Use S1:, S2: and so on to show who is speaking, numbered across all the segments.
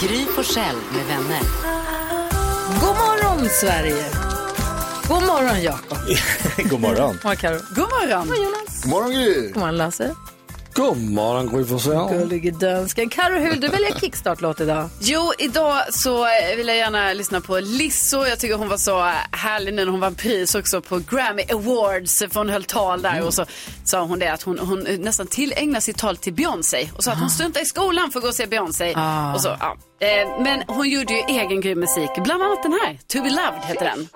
S1: Gry Forssell med vänner.
S2: God morgon Sverige! God morgon Jakob!
S3: God morgon.
S2: God morgon Karo. God morgon Jonas!
S4: morgon Gry!
S2: God morgon Lasse!
S3: God morgon Gry Forssell.
S2: Gullige dansken. Karo Hul, du väljer kickstart-låt idag.
S5: Jo, idag så vill jag gärna lyssna på Lizzo. Jag tycker hon var så härlig nu när hon vann pris också på Grammy Awards. För hon höll tal där och så sa hon det att hon, hon nästan tillägnar sitt tal till Beyoncé. Och sa att
S3: Ah.
S5: hon struntar i skolan för att gå och se Beyoncé.
S2: Ah.
S5: Och så, ja. Eh, Men hon gjorde ju egen grym musik. Bland annat den här, To Be Loved heter den.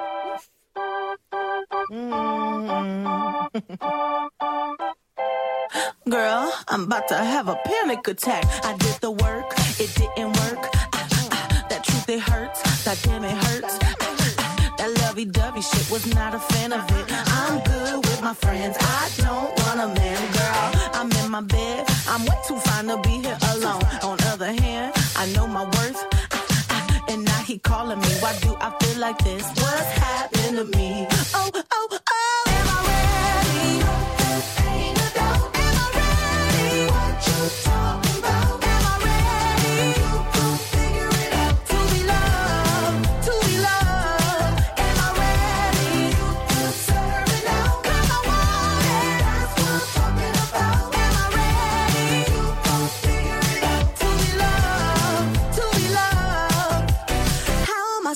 S6: Girl, I'm about to have a panic attack. I did the work, it didn't work. Ah, ah, ah, that truth, it hurts. That damn, it hurts. Ah, ah, ah, that lovey dovey shit was not a fan of it. I'm good with my friends. I don't want a man, girl. I'm in my bed. I'm way too fine to be here alone. On other hand, I know my worth. Ah, ah, and now he calling me. Why do I feel like this? What's happening to me? Oh, oh, oh. Am I ready?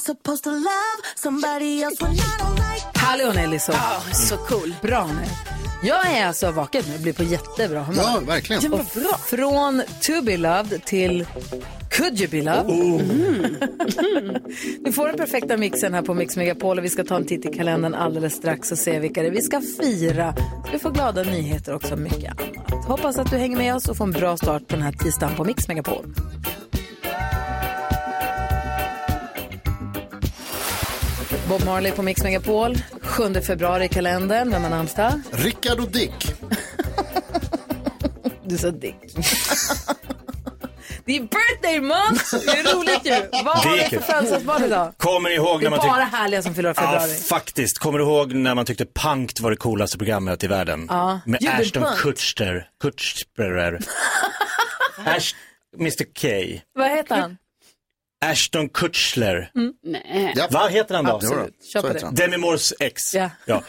S6: Supposed to love somebody else when I don't like
S2: Härlig hon är Lizzo.
S5: Ja, så cool.
S2: Bra hon är. Jag är alltså vaken nu, blir på jättebra humör.
S4: Ja, verkligen.
S2: Och bra. Från To Be Loved till Could You Be Loved.
S4: Oh.
S2: Mm. Vi får den perfekta mixen här på Mix Megapol och vi ska ta en titt i kalendern alldeles strax och se vilka det är vi ska fira. Vi får glada nyheter också och mycket annat. Hoppas att du hänger med oss och får en bra start på den här tisdagen på Mix Megapol. Bob Marley på Mix Megapol, 7 februari i kalendern. Vem har namnsdag?
S4: Rickard och Dick.
S2: Du sa dick. Det är birthday month! Det är roligt ju. Vad har
S3: Det är
S2: vi för
S3: kul.
S2: födelsedagsbarn idag?
S3: Kommer ni ihåg
S2: Det är
S3: när man Ah, tyckte...
S2: bara härliga som fyller år i
S3: Ja,
S2: februari.
S3: faktiskt. Kommer du ihåg när man tyckte Punkt var det coolaste programmet i världen?
S2: Ja.
S3: Med
S2: Gjorde
S3: Ashton
S2: Punkt?
S3: Kutcher. Kutcherer. Ash... Mr K.
S2: Vad heter han?
S3: Ashton Kutchler.
S5: Mm. Nej.
S4: Ja,
S3: Vad heter han då?
S4: Absolut.
S2: Kör på Mm. det.
S3: Demi Moores ex.
S2: Ja.
S4: De är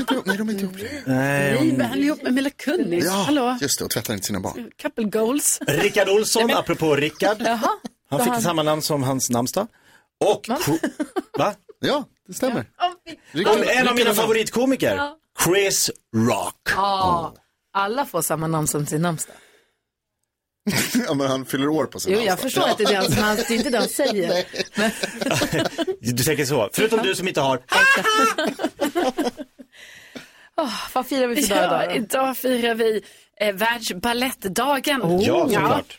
S4: inte ihop. Nej, de är inte ihop längre.
S3: Nej,
S5: Nej,
S3: hon...
S5: men han är ihop med Mila Kunis. Hallå?
S4: Ja, just det. Och tvättar inte sina barn.
S5: Couple goals.
S3: Rickard Olsson, apropå Rickard. Han fick samma namn som hans namnsdag. Och... Ko- Va?
S4: Ja, det stämmer. Rickard-
S3: Och en av
S4: Rickard
S3: mina
S4: och-
S3: favoritkomiker. Chris Rock.
S2: Ja. Alla får samma namn som sin namnsdag.
S4: Ja, men han fyller år på sin
S2: Jo, jag
S4: namnsdag.
S2: förstår att det är den som han, det är inte den han säger. Men,
S3: Du tänker så. Förutom du som inte har.
S2: vad firar vi för dag
S5: Ja,
S2: idag då?
S5: idag firar vi eh, världsbalettdagen.
S2: Oh,
S3: Ja, såklart.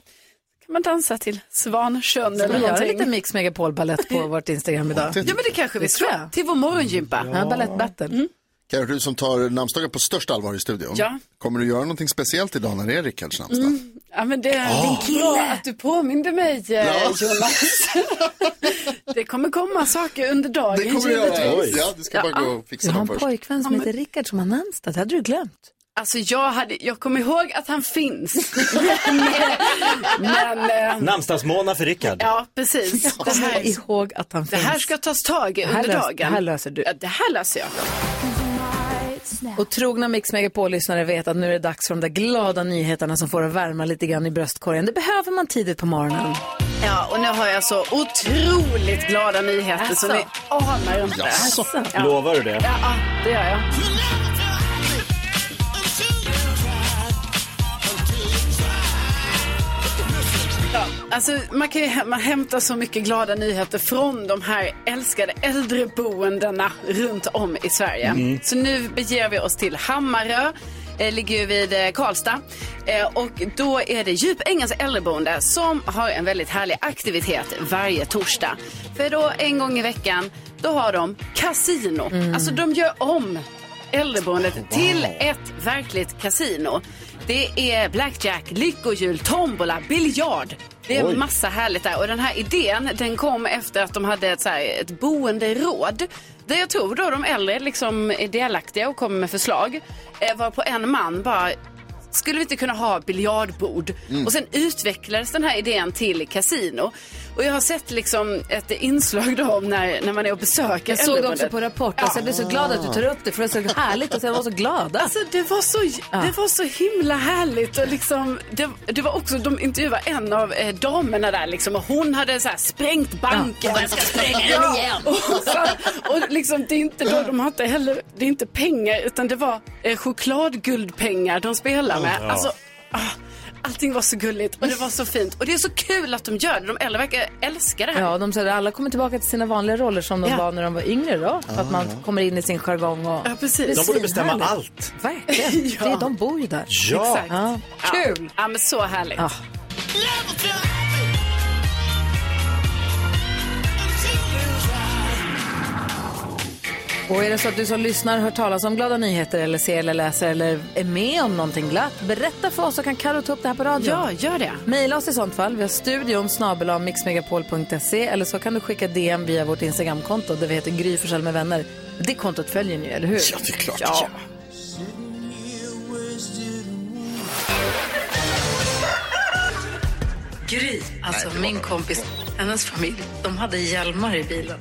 S5: kan man dansa till Svansjön
S2: Ska
S5: eller
S2: vi göra
S5: någonting.
S2: lite Mix Megapol balett på vårt Instagram idag?
S5: Ja men det kanske vi
S2: Det tror
S5: ska.
S2: jag.
S5: Till vår morgongympa.
S2: Ja, balettbattle.
S4: Carro, du som tar namnsdagar på störst allvar i studion.
S5: Ja.
S4: Kommer du göra någonting speciellt idag när det är Rickards namnsdag?
S5: Mm. Ja men det
S4: Ah.
S5: är bra att du påminde mig eh, Jonas. det kommer komma saker under dagen
S4: Det kommer du göra.
S5: givetvis.
S4: Ja, du ska bara gå och fixa
S2: Du ah. har
S4: dem
S2: en
S4: först.
S2: pojkvän som heter Rickard som har namnsdag. Det hade du glömt.
S5: Alltså jag, hade, jag kommer ihåg att han finns. men, men eh,
S3: Namnsdagsmånad för Rickard.
S5: ja precis. Det
S2: Kom
S5: här,
S2: ihåg att han
S5: det
S2: finns.
S5: här ska tas tag i
S2: Det här
S5: under
S2: löser-
S5: dagen.
S2: det här löser du.
S5: Ja, det här löser jag.
S2: Och trogna Mix Megapol-lyssnare vet att nu är det dags för de där glada nyheterna som får att värma lite grann i bröstkorgen. Det behöver man tidigt på morgonen.
S5: Ja och nu har jag så otroligt glada nyheter
S2: Alltså.
S5: som ni anar inte.
S4: Jaså?
S3: Alltså, Lovar du det?
S5: Ja, ja, det gör jag. Ja, Alltså, man kan ju hä- man hämtar så mycket glada nyheter från de här älskade äldreboendena runt om i Sverige. Så nu beger vi oss till Hammarö. eh, ligger ju vid eh, Karlstad. Eh, och då är det Djupängens äldreboende som har en väldigt härlig aktivitet varje torsdag. För då en gång i veckan, då har de kasino. Alltså de gör om äldreboendet till ett verkligt kasino. Det är blackjack, lyckohjul, tombola, biljard. Det är massa härligt där. Och den här idén den kom efter att de hade ett, så här, ett boenderåd. Där jag tror då de äldre liksom är delaktiga och kommer med förslag. Eh, var på en man bara skulle vi inte kunna ha biljardbord? Och sen utvecklades den här idén till kasino. Och jag har sett liksom ett inslag då om när, när man är och besöker
S2: Jag såg det också
S5: äldreboendet.
S2: på Rapport. Alltså, jag blev så glad att du tar upp det, för det är så härligt och sen var så glada.
S5: Alltså det var så, det var så himla härligt och liksom, det, det var också, de intervjuade en av eh, damerna där liksom och hon hade så här sprängt banken. Ja. ska spränga den igen. Och, så- och liksom det är inte då, de har inte heller, det är inte pengar utan det var eh, chokladguldpengar de spelar med. Alltså, ah, allting var så gulligt och det var så fint och det är så kul att de gör det, de äldre verkar älska det här.
S2: Ja, de säger att alla kommer tillbaka till sina vanliga roller som de
S5: Ja.
S2: var när de var yngre då. Att man kommer in i sin jargong och...
S5: Ja, precis.
S3: Ah. De borde bestämma
S2: Svinhärligt.
S3: allt.
S2: Verkligen.
S5: Ja.
S2: Det, de bor ju där.
S3: Ja.
S5: Exakt.
S2: Ja. Kul! Ah.
S5: Ja, men så härligt.
S2: Ja. Och är det så att du som lyssnar hör talas om glada nyheter eller ser eller läser eller är med om någonting glatt, berätta för oss så kan Karo ta upp det här på radion.
S5: Ja, gör det.
S2: Maila oss i sånt fall. Vi har studion snabel-a mixmegapol.se eller så kan du skicka DM via vårt Instagramkonto där vi heter Gry Forssell med vänner. Det kontot följer ni, eller hur?
S4: Ja, det är klart.
S2: Ja. Gry, alltså min kompis, hennes familj, de hade hjälmar i bilen.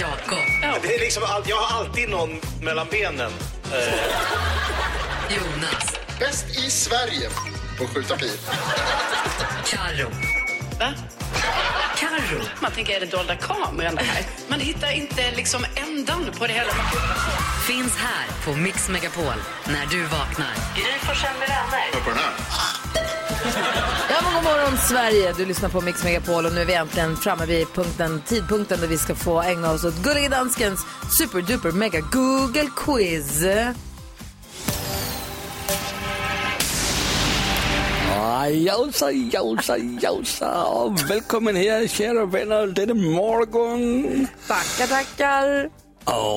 S2: Jakob,
S7: Det är liksom all, jag har alltid någon mellan benen. eh.
S1: Jonas,
S4: Bäst i Sverige på att skjuta pil.
S1: Karo.
S5: Va?
S1: Karo.
S5: Man tänker, är det dolda kameran det här? Man hittar inte liksom ändan på det hela.
S1: Finns här på Mix Megapol när du vaknar. Gry Forssell med vänner.
S4: Hör på den här.
S2: Ja, men god morgon Sverige! Du lyssnar på Mix Megapol och nu är vi äntligen framme vid punkten, tidpunkten där vi ska få ägna oss åt Gullige Danskens superduper mega Google quiz.
S7: Jausa, jausa, jausa. Och välkommen här, kära vänner, denna morgon.
S2: Tackar, tackar!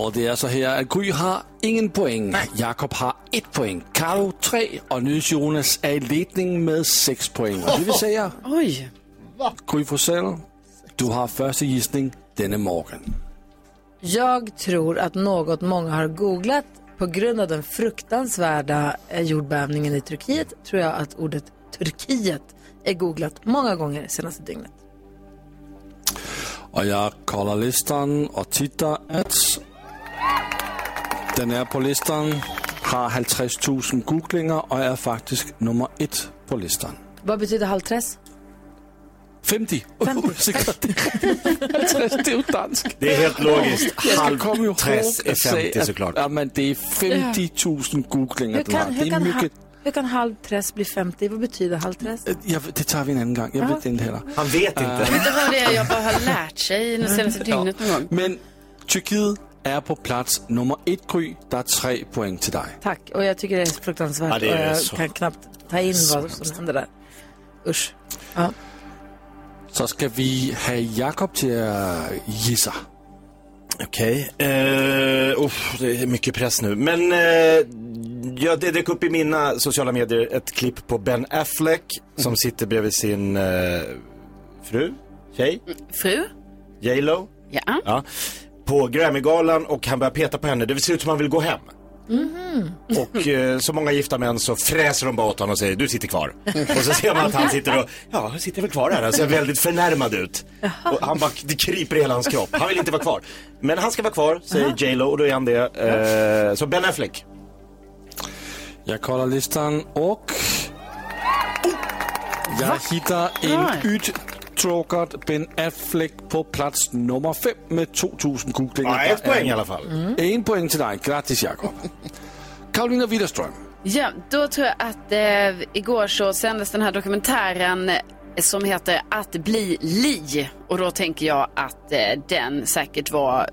S7: Och det är så här att Gry har ingen poäng. Jakob har ett poäng. Karo tre och nu Jonas är i ledning med sex poäng. Och det vill säga,
S5: Oj.
S7: Gry Forssell, du har första gissning denna morgon.
S2: Jag tror att något många har googlat på grund av den fruktansvärda eh, jordbävningen i Turkiet tror jag att ordet Turkiet är googlat många gånger det senaste dygnet.
S7: Och jag kollar listan och tittar att den är på listan, har 50 000 googlingar och är faktiskt nummer ett på listan.
S2: Vad betyder halvträs?
S7: 50! 50. det är ju dansk.
S3: Det är helt logiskt.
S7: Jag kommer ihåg
S3: Halvträs är
S7: att säga
S3: 50
S7: att-
S3: såklart.
S7: Ja, men det är 50 000 googlingar
S2: Hur
S7: den har.
S2: kan,
S7: Det
S2: hur,
S7: är
S2: kan,
S7: mycket.
S2: ha- hur kan halvträs bli 50? Vad betyder halvträs?
S7: Jag, det tar vi en annan gång. Jag vet inte heller. Øh.
S3: Han vet inte.
S5: Det var det jag bara har lärt sig det senaste dygnet någon gång.
S7: Men Turkiet är på plats nummer ett, Gry. Det är tre poäng till dig.
S2: Tack, och jag tycker det är fruktansvärt
S3: Ja, det är
S2: och jag
S3: så-
S2: kan knappt ta in vad som händer där. Usch.
S7: Så ska vi ha Jakob till att gissa.
S3: Okej. Eh, uff, det är mycket press nu. Men eh, ja, det dök upp i mina sociala medier ett klipp på Ben Affleck
S5: Mm.
S3: som sitter bredvid sin eh, fru, tjej,
S5: Fru?
S3: J Lo.
S5: Ja.
S3: Ja. På Grammygalan och han börjar peta på henne. Det ser ut som han vill gå hem.
S5: Mhm.
S3: Och eh, som många gifta män så fräser de bara åt honom och säger du sitter kvar. Och så ser man att han sitter och, ja han sitter väl kvar här. Han ser väldigt förnärmad ut. Och han bara, det kryper i hela hans kropp. Han vill inte vara kvar. Men han ska vara kvar, säger J Lo och då är han det. Eh, så Ben Affleck.
S7: Jag kollar listan och... Jag hittar en uttråkad Ben Affleck på plats nummer fem med 2000 googlingar.
S3: Ja, ett
S7: Der er
S3: poäng i alla fall.
S7: Mm. En poäng till dig. Grattis Jakob. Karolina Widerström.
S5: ja, då tror jag att eh, igår så sändes den här dokumentären eh, som heter Att bli li. Och då tänker jag att eh, den säkert var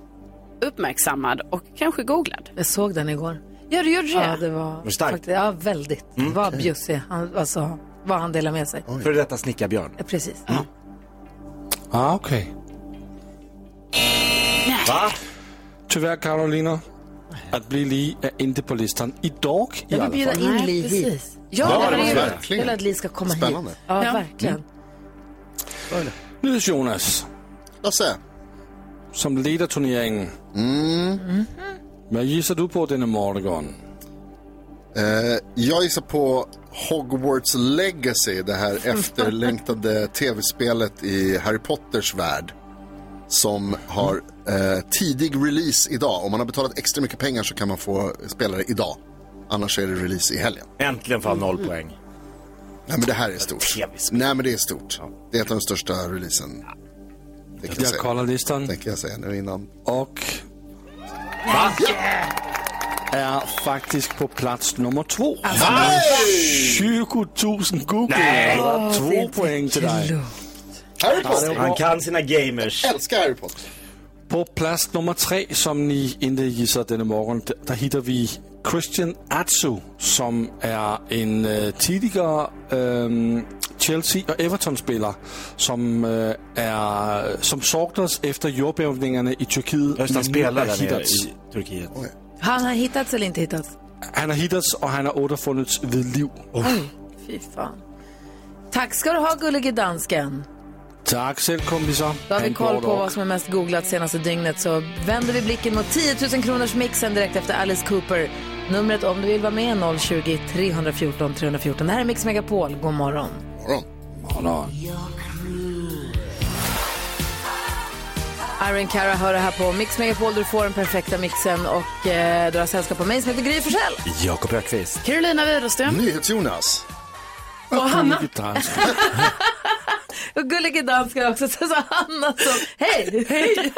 S5: uppmärksammad och kanske googlad.
S2: Jag såg den igår.
S5: Ja, du gjorde det.
S2: Ja, det var
S3: Men stark. Mm.
S2: faktiskt, ja, väldigt. Vad bjussig han, alltså, vad han delade med sig.
S3: För detta snickarbjörn.
S2: Ja, precis.
S3: Mm.
S7: Ah, okej.
S3: Va?
S7: Tyvärr, Carolina. Att bli Li är inte på listan idag i
S2: Jag vill
S7: alla
S2: bjuda
S7: fall.
S2: in
S5: Nej,
S2: Li
S5: precis.
S2: hit.
S5: Ja,
S4: det
S5: det
S4: var
S5: var det.
S2: Jag vill
S4: Verkligen.
S2: att Li ska komma
S4: Spännande.
S2: hit. Ja,
S5: Ja.
S2: verkligen.
S3: Mm.
S7: Nu är det Jonas,
S4: Lasse,
S7: som leder turneringen. Vad gissar du på denna morgon?
S4: eh, jag gissar på Hogwarts Legacy, det här efterlängtade tv-spelet i Harry Potters värld. Som har eh, tidig release idag. Om man har betalat extra mycket pengar så kan man få spela det idag. Annars är det release i helgen.
S3: Äntligen får han
S7: Mm.
S3: noll poäng.
S4: Nej men det här är stort.
S3: TV-spel.
S4: Nej men det är stort. Det är ett av de största releasen. Det kan jag
S7: Jag
S4: säga.
S7: kollar listan
S4: Det kan jag säga nu innan.
S7: och
S3: Va?
S7: är faktiskt på plats nummer två. 20 000 googlingar. Två poäng till dig.
S4: Harry Potter!
S3: Han kan sina gamers.
S4: Jag älskar Harry Potter.
S7: På plats nummer tre, som ni inte gissar denna morgon, d- där hittar vi Christian Atsu, som är en eh, tidigare ehm, Chelsea och Everton-spelare som, eh, är, som saknas efter jordbävningarna i
S3: Just
S7: Turkiet.
S3: han
S7: men nu
S3: spelar
S7: är
S3: där nere
S7: hittats.
S3: i Turkiet.
S2: Han har hittats eller inte hittats?
S7: Han har hittats och han har återfunnits vid liv.
S2: Fy fan. Tack ska du ha, gullige dansken.
S7: Tack själv kompisar.
S2: Då har vi
S7: En
S2: koll
S7: bra
S2: på
S7: dag.
S2: vad som är mest googlat senaste dygnet så vänder vi blicken mot 10 000 kronors mixen direkt efter Alice Cooper. Numret om du vill vara med 020-314 314. Det här är Mix Megapol. God morgon.
S4: Morgon.
S2: Iron Cara hör det här på Mix Megapol. där Du får den perfekta mixen och eh, du har sällskap av mig som heter Gry Forssell.
S3: Jakob Öqvist.
S5: Carolina Widerström.
S4: Mm. NyhetsJonas.
S7: Och Hanna. Dansk.
S2: Och gullige dansken också. Så sa Hanna som, hej! Hej!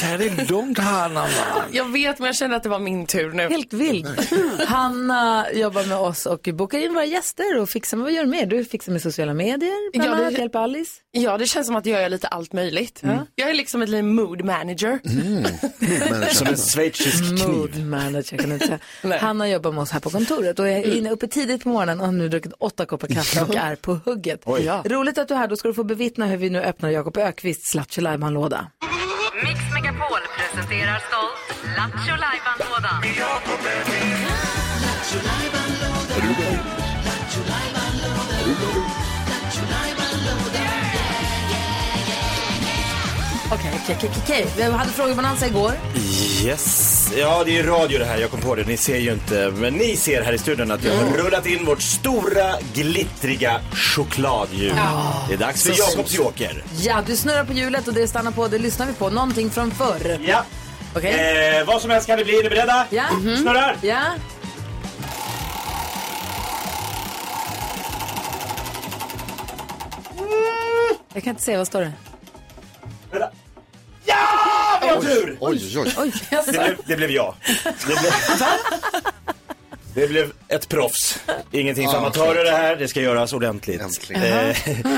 S7: Ta det lugnt Hanna. man.
S8: Jag vet, men jag känner att det var min tur nu.
S2: Helt vild. Hanna jobbar med oss och bokar in våra gäster och fixar med, vad gör du mer? Du fixar med sociala medier, bland
S8: Ja, det-
S2: annat, hjälper Alice.
S8: Ja, det känns som att jag gör lite allt möjligt. Jag är liksom ett litet mood manager.
S4: Mm.
S3: Som en schweizisk kniv.
S2: Mood manager kan jag inte säga. Hanna jobbar med oss här på kontoret och
S8: Mm.
S2: är inne uppe tidigt på morgonen och har nu druckit åtta koppar kaffe och är på hugget. Roligt att du är här, då ska du få bevittna hur vi nu öppnar Jakob Ökvists Lattjo Lajban-låda.
S1: Mix Megapol presenterar stolt Lattjo Lajban-lådan.
S2: Okej, okej, okej, okej. Vi hade frågebalans igår.
S3: Yes. Ja, det är ju radio det här. Jag kom på det. Ni ser ju inte, men ni ser här i studion att jag har rullat in vårt stora glittriga chokladhjul. Det är dags för Jakobs joker.
S2: Ja, du snurrar på hjulet och det stannar på, det lyssnar vi på. Någonting från förr.
S3: Ja.
S2: Okej?
S3: Eh, vad som helst kan det bli. Är ni beredda? Mm-hmm.
S2: Ja. Mhm.
S3: Snurrar.
S2: Ja? Jag kan inte se, vad står det?
S3: Vänta. Ja, vad tur!
S4: Oj, oj, oj.
S2: Oj, jag
S3: Det blev, det blev jag. Det blev, det blev ett proffs. Ingenting för amatörer det här, det ska göras ordentligt.
S4: Ah, Äntligen.
S3: Eh,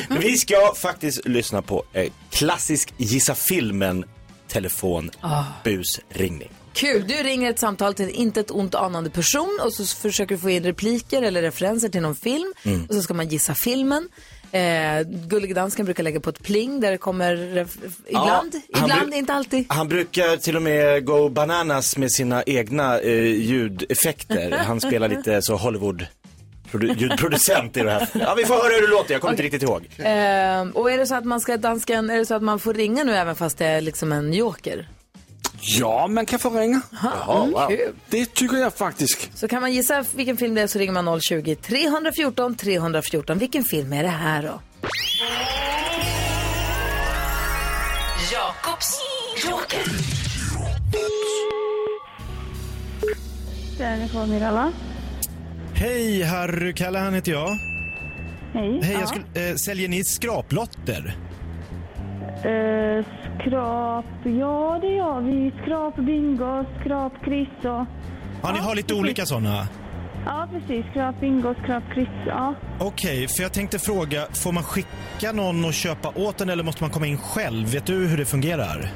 S3: men vi ska faktiskt lyssna på eh, klassisk Gissa filmen telefon
S2: Ah.
S3: busringning.
S2: Kul! Du ringer ett samtal till en inte ett ont anande person och så försöker du få in repliker eller referenser till någon film
S3: Mm.
S2: och så ska man gissa filmen. Eh, Gullig dansken brukar lägga på ett pling där det kommer ref- ibland,
S3: han
S2: ibland,
S3: bru-
S2: inte alltid.
S3: Han brukar till och med gå bananas med sina egna eh, ljudeffekter. Han spelar lite så Hollywood ljudproducent i det här. Ja, vi får höra hur det låter, jag kommer inte riktigt ihåg.
S2: Eh, och är det så att man ska dansken, är det så att man får ringa nu även fast det är liksom en joker?
S7: Ja, man kan få ringa.
S3: Jaha, wow.
S7: Det tycker jag faktiskt.
S2: Så kan man gissa vilken film det är så ringer man 020 314 314. Vilken film är det här då?
S1: Jakobs joker.
S9: Hej, Harry Callahan heter jag. Hej. Hej, jag skulle, eh, säljer ni skraplotter?
S10: Eh,
S9: Ja, ni har lite olika sådana?
S6: Ja, precis. Skrap, bingo, skrap, kryss. Ja.
S9: Okej, för jag tänkte fråga, får man skicka någon och köpa åt den eller måste man komma in själv? Vet du hur det fungerar?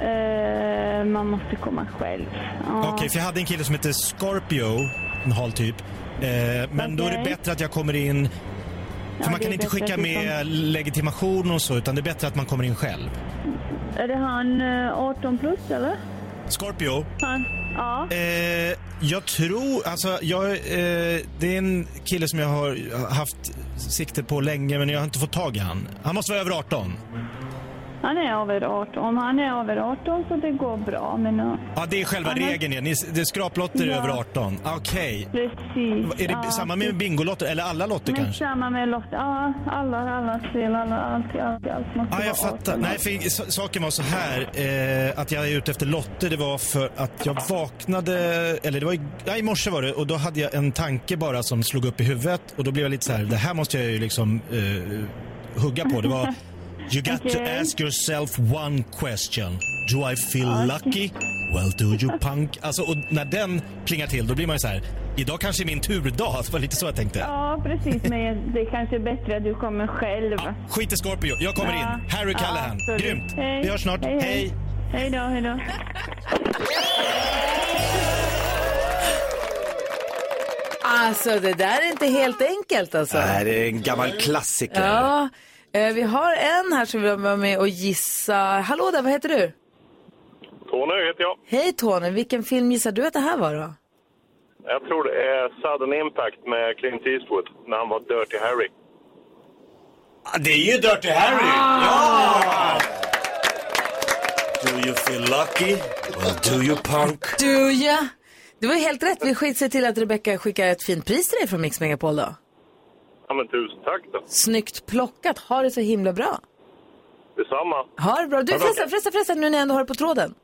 S6: Eh,
S10: eh, man måste komma själv. Ja.
S3: Okej, för jag hade en kille som heter Scorpio, en hal typ. Eh, men då är det
S10: Okej.
S3: bättre att jag kommer in... För
S10: Ja,
S3: man
S10: det
S3: kan
S10: är
S3: inte
S10: bättre
S3: skicka
S10: att liksom- du
S3: med legitimation och så, utan det är bättre att man kommer in själv.
S10: Är det han eh, 18 plus eller?
S3: Scorpio?
S10: Han? Ja.
S3: Eh, jag tror, alltså jag, eh, det är en kille som jag har haft sikte på länge men jag har inte fått tag i han. Han måste vara över 18.
S10: Han är över 18. Om han är över 18 så det går bra. Men, eh,
S3: Ja, det är själva
S10: Han har-
S3: regeln ja. Ni, det är skraplotter
S10: Ja.
S3: över 18. Okej.
S10: precis.
S3: Är det
S10: ja.
S3: samma med bingolotter eller alla lotter
S10: Men
S3: kanske?
S10: samma med Lotta. Ja, alla, alla spel, alla, allt, allt, allt måste
S3: Ja, jag
S10: vara 18.
S3: fattar. Nej, för s- saken var så här eh, att jag är ute efter lotter. Det var för att jag vaknade, eller det var i, ja, i morse var det och då hade jag en tanke bara som slog upp i huvudet och då blev jag lite så här, det här måste jag ju liksom eh, hugga på. Det var You got
S10: Okej.
S3: to ask yourself one question. Do I feel lucky? Well, do you punk? Alltså, och när den plingar till, då blir man ju så här, idag kanske är min turdag. Det var lite så jag tänkte.
S10: Ja, precis. Men det är kanske är bättre att du kommer själv.
S3: Skit i Scorpio, jag kommer in. Harry
S10: Ja,
S3: Callahan.
S10: absolut.
S3: Grymt.
S10: Hej.
S3: Vi hörs snart.
S10: Hej, hej.
S3: hej.
S10: Hej då, hej då.
S2: Alltså det där är inte helt enkelt alltså.
S11: Nej, det är en gammal klassiker.
S2: Ja, eh, vi har en här som vill vara med och gissa. Hallå där, vad heter du?
S12: Tony heter jag.
S2: Hej Tony, vilken film gissar du att det här var då?
S12: Jag tror det är Sudden Impact med Clint Eastwood när han var Dirty Harry.
S3: Ah,
S11: Det är ju Dirty Harry!
S2: Ah.
S11: Ja! Do you feel lucky? Well, do you punk?
S2: Du ja, det var ju helt rätt. Vi skit- ser till att Rebecca skickar ett fint pris till dig från Mix Megapol då.
S12: Ja, men tusen tack då.
S2: Snyggt plockat, ha det så himla bra.
S12: Detsamma.
S2: Ha det bra. Du förresten, förresten, förresten, nu när jag ändå har det på tråden.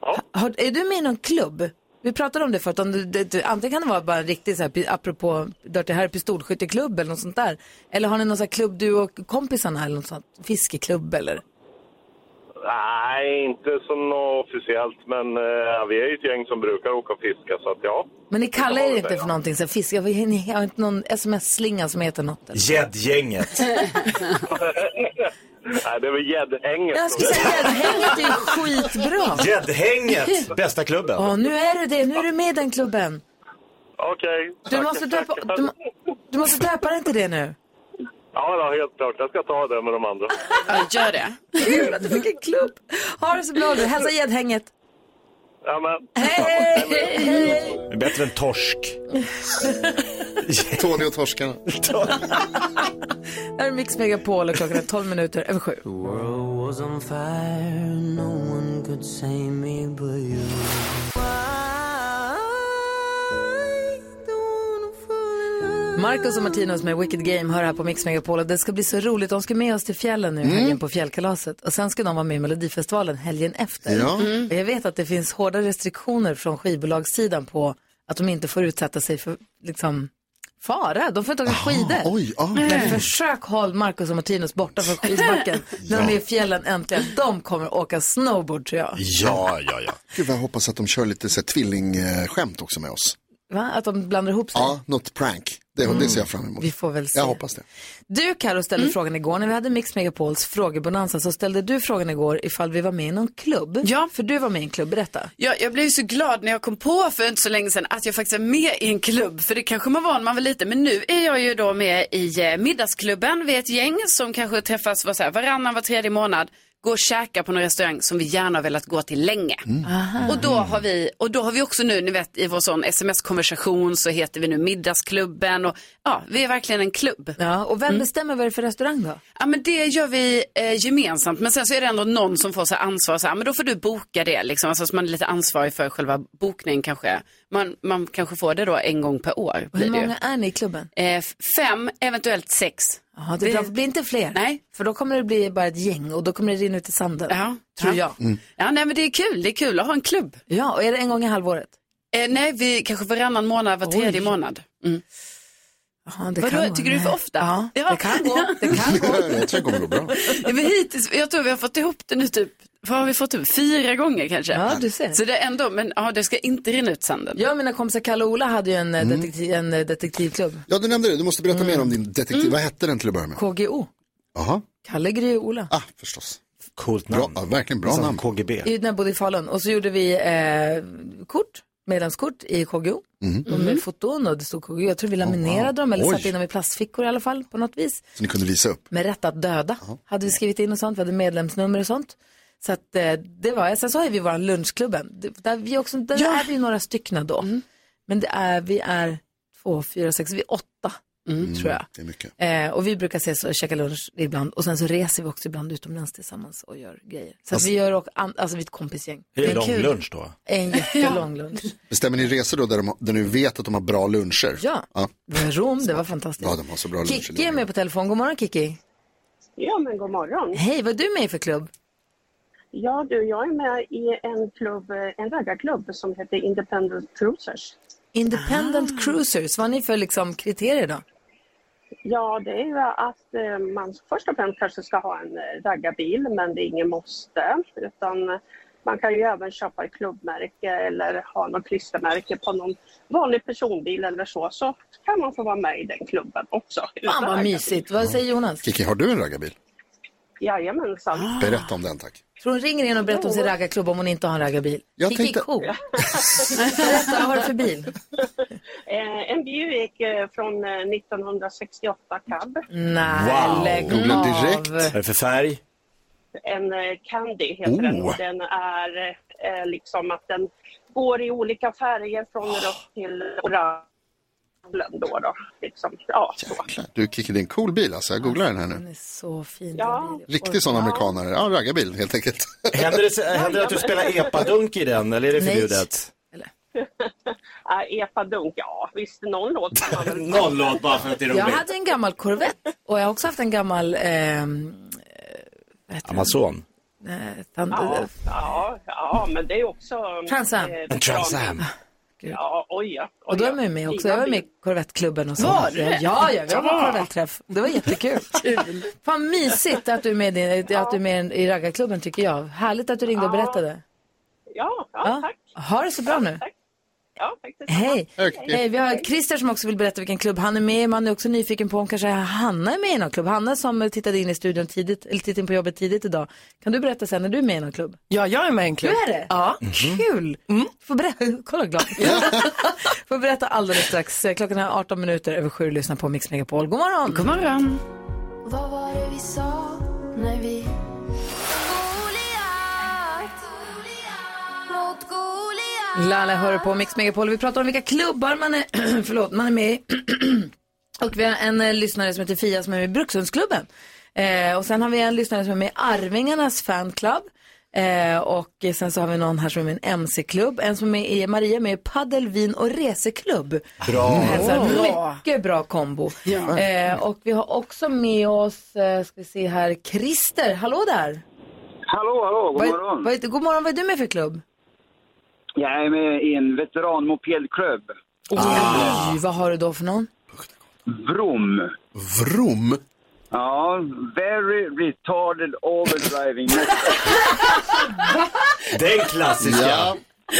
S2: Ha- Har, är du med i någon klubb? Vi pratade om det förut, om du, det, du, antingen kan det vara bara en riktig så här, pi- apropå Dirty Harry pistolskytteklubb eller något sånt där. Eller har ni någon sån här klubb du och kompisarna eller något sånt, fiskeklubb eller?
S12: Nej, inte så nå officiellt, men eh, vi är ju ett gäng som brukar åka och fiska, så att ja.
S2: Men ni kallar er inte
S12: säga.
S2: för någonting så här, fiske, ni ni har inte någon sms-slinga som heter något? Eller?
S11: Gäddgänget.
S12: Nej, det är väl gäddhänget.
S2: Jag skulle säga gäddhänget är ju skitbra.
S11: Gäddhänget, bästa klubben.
S2: Ja, nu är du det, nu är du med i den klubben.
S12: Okej.
S2: Du måste döpa, du, må- du måste döpa dig till det nu.
S12: Ja, då, helt klart. Jag ska ta det med de andra.
S5: Ja, gör det.
S2: Kul att du fick en klubb. Ha det så bra du, hälsa gäddhänget.
S12: Ja, men.
S2: Hej!
S11: Det är Bättre än torsk.
S4: Tony och torskarna.
S2: Här är Mix Megapol och klockan är 12 minuter över sju. Marcus och Martinus med Wicked Game hör här på Mix Megapol och det ska bli så roligt. De ska med oss till fjällen
S4: Mm.
S2: nu i helgen på fjällkalaset och sen ska de vara med i Melodifestivalen helgen efter. Mm.
S4: Ja. Mm.
S2: Och jag vet att det finns hårda restriktioner från skivbolagssidan på att de inte får utsätta sig för liksom fara. De får inte åka skidor.
S4: Oj, ja.
S2: Men försök håll Marcus och Martinus borta från skidbacken när de är i fjällen äntligen. De kommer åka snowboard tror jag.
S4: Ja, ja, ja. Gud, vad jag hoppas att de kör lite så här, tvillingskämt också med oss.
S2: Va? Att de blandar ihop sig.
S4: Ja, något prank. Det, det ser jag fram emot.
S2: Vi får väl se.
S4: Jag hoppas det.
S2: Du Karo ställde
S5: Mm.
S2: frågan igår när vi hade Mix Megapols frågebonanza så ställde du frågan igår ifall vi var med i någon klubb. Ja. För du var med i en klubb, berätta.
S5: Jag, jag blev ju så glad när jag kom på för inte så länge sedan att jag faktiskt är med i en klubb. För det kanske man var när man var liten. Men nu är jag ju då med i eh, middagsklubben. Vi är ett gäng som kanske träffas var så här, varannan, var tredje månad. Går och käkar på någon restaurang som vi gärna har velat gå till länge.
S2: Mm.
S5: Och, då har vi, och då har vi också nu, ni vet i vår sån sms-konversation så heter vi nu middagsklubben. Och, ja, vi är verkligen en klubb.
S2: Ja, och
S5: Mm.
S2: vem bestämmer vad det är för restaurang då?
S5: Ja men det gör vi eh, gemensamt men sen så är det ändå någon som får så här ansvar så här, men då får du boka det liksom. Alltså så man är lite ansvarig för själva bokningen kanske. Man, man kanske får det då en gång per år.
S2: Hur
S5: Blir det ju.
S2: många är ni i klubben?
S5: Eh, f- fem, eventuellt sex.
S2: Jaha, det,
S5: Det-
S2: blir- blir inte fler. Nej. För då kommer det bli bara ett gäng och då kommer det rinna ut i sanden. Ja. Tror jag.
S5: Ja nej men det är kul, det är kul att ha en klubb.
S2: Ja och är det en gång i halvåret?
S5: Eh, nej vi kanske varannan månad, var tredje månad. Mm.
S2: Jaha, det
S5: Vadå,
S2: kan vara-
S5: tycker du det är för ofta?
S2: Ja, det kan gå. Det kan
S4: Jag tror det kommer gå bra.
S5: Ja, men hittills, jag tror vi har fått ihop det nu typ, vad har vi fått typ fyra gånger kanske?
S2: Ja, du ser.
S5: Så det är ändå, men ja, det ska inte rinna ut sanden.
S2: Jag och mina kompisar Kalle och Ola hade ju en, eh,
S5: Mm.
S2: detektiv, en eh, detektivklubb,
S4: Ja, du nämnde det. Du måste berätta mer om din detektiv.
S2: Mm.
S4: Vad hette den till att börja med?
S2: KGO.
S4: Jaha,
S2: Kalle, Gry och Ola.
S4: Ah, förstås.
S3: Coolt namn.
S4: Bra, verkligen bra
S3: Som
S4: namn.
S3: KGB.
S2: I, när jag bodde i Falun. Och så gjorde vi eh, kort, medlemskort i KGO.
S4: Mm.
S2: Och med foton och det stod KGO. Jag tror vi laminerade
S4: wow.
S2: dem eller
S4: Oj.
S2: satte in dem i plastfickor i alla fall på något vis.
S4: Så ni kunde visa upp.
S2: Med rätt att döda hade vi skrivit in och sånt. Vi hade medlemsnummer och sånt. Så att, eh, det var jag. Sen så har ju vi vår lunchklubben. Det- Där, vi också, där är vi ju några stycken då.
S4: Mm.
S2: Men det är, vi är två, fyra, sex, vi är åtta tror jag.
S4: Mm, Det är mycket.
S2: Eh, och vi brukar ses och käka lunch ibland och sen så reser vi också ibland utomlands tillsammans och gör grejer. Så
S4: Alltså-
S2: att vi gör och, an- alltså vi är ett kompisgäng.
S4: Är det
S2: är
S4: lång
S2: kul.
S4: lunch då?
S2: En jättelång lunch.
S4: Bestämmer ni resor då där, de, där ni vet att de har bra luncher?
S2: Ja.
S4: Ja,
S2: Det var Rom, det var fantastiskt.
S4: ja de har så bra luncher.
S2: Kiki är med på telefon. God morgon Kiki.
S13: Ja, men god morgon.
S2: Hej, vad är du med i för klubb?
S13: Ja, du, jag är med i en klubb, eh, en raggarklubb som heter Independent Cruisers.
S2: Independent
S13: Ah.
S2: Cruisers, vad har ni för liksom, kriterier då?
S13: Ja, det är ju att eh, man först och främst kanske ska ha en eh, raggarbil, men det är ingen måste. Utan eh, man kan ju även köpa ett klubbmärke eller ha något klistermärke på någon vanlig personbil eller så. Så kan man få vara med i den klubben också.
S2: Fan vad mysigt. Vad säger Jonas?
S4: Kiki, har du en raggarbil?
S13: Jajamensan.
S2: Ah.
S4: Berätta om den tack.
S2: Tror hon ringer in och berättar om sin raggarklubb om hon inte har en raggarbil?
S4: Jag
S2: Kiki
S4: tänkte-
S2: cool. Berätta, vad har du för bil?
S13: Eh, en Buick eh, från eh, 1968 cab.
S2: Nej, lägg
S3: Googla
S2: av.
S3: direkt. Vad är det för färg?
S13: En eh, Candy heter den.
S3: Oh.
S13: Och den är eh, liksom att den går i olika färger från rött till orange. Då, då. Liksom, ja, så.
S4: Du Kiki, det är en cool bil alltså. Jag googlar den här nu.
S2: Så fin.
S13: Ja.
S4: Riktig sån amerikanare. Ja, raggarbil helt enkelt.
S3: Händer det, händer det att du spelar epadunk i den eller är det
S13: Nej.
S3: förbjudet?
S13: Ah, Epadunk, ja visst någon låt kan man väl
S3: Någon låt bara för att det är
S2: Jag
S3: roligt.
S2: hade en gammal Corvette och jag har också haft en gammal ehm,
S3: Amazon.
S2: eh, tant-
S13: Ja,
S2: eh,
S13: ja, ja, men det är också... eh,
S2: Trans Am.
S3: En Trans Am.
S13: Ja, oj ja.
S2: Och då är man ju med också. Jag var med i Corvettklubben och så.
S13: Var du
S2: Ja,
S13: det?
S2: ja, jag var på
S13: Ja.
S2: Corvetträff. Det var jättekul. Fan mysigt att du är med, i- att du är med i raggarklubben tycker jag. Härligt att du ringde och berättade.
S13: Ja, ja, tack.
S2: Ha det så bra nu.
S13: Ja, tack
S2: Hej. Eh,
S13: Hej.
S2: Hej! Vi har Christer som också vill berätta vilken klubb han är med i. Man är också nyfiken på om kanske Hanna är med i någon klubb. Hanna som tittade in i studion tidigt, eller tittade in på jobbet tidigt idag. Kan du berätta sen när du är med i någon klubb?
S8: Ja, jag är med i en klubb.
S2: Du är det?
S8: Ja. Mm.
S2: Kul! Får berätta, kolla glad. Får berätta alldeles strax. Klockan är 18 minuter över sju. Lyssna på Mix Megapol. God morgon! God morgon!
S14: Vad var det vi sa när vi... Goliat, mot Goliat
S2: Lala hör på Mix Megapol. Vi pratar om vilka klubbar man är, förlåt, man är med i. och vi har en eh, lyssnare som heter Fia som är med i Brukshundsklubben. Eh, och sen har vi en lyssnare som är med i Arvingarnas fanclub. Eh, och sen så har vi någon här som är med i en MC-klubb. En som är med i, Maria är med i Paddel, vin och reseklubb.
S15: Bra.
S4: Mm.
S2: Hon hälsar
S15: Bra.
S2: mycket bra kombo. Eh, och vi har också med oss, eh, ska vi se här, Christer. Hallå där!
S16: Hallå, hallå, god
S2: Vad-
S16: morgon.
S2: vad heter- god morgon, vad är du med för klubb?
S16: Jag är med i en veteranmopedklubb.
S2: Oj, vad har du då för någon?
S16: Vrom.
S4: Vrom?
S16: Ja, very retarded overdriving.
S3: Den klassiska.
S16: Ja,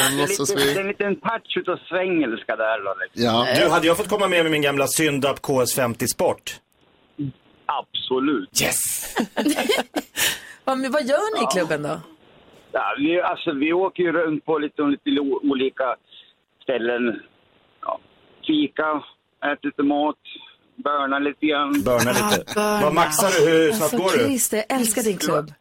S4: den
S3: låtsas vi.
S16: Det är en liten patch utav svängelska där då. Liksom.
S3: Du, hade jag fått komma med med min gamla Syndap KS50 Sport?
S16: Absolut.
S3: Yes!
S2: Ja, men vad gör ni i klubben då?
S16: Ja, vi, alltså, vi åker ju runt på lite, lite o- olika ställen. Ja, fika, äter lite mat, börnar lite grann.
S3: Börnar lite. Vad maxar du? Hur
S2: Alltså,
S3: snabbt går du?
S2: Christer, jag älskar din klubb.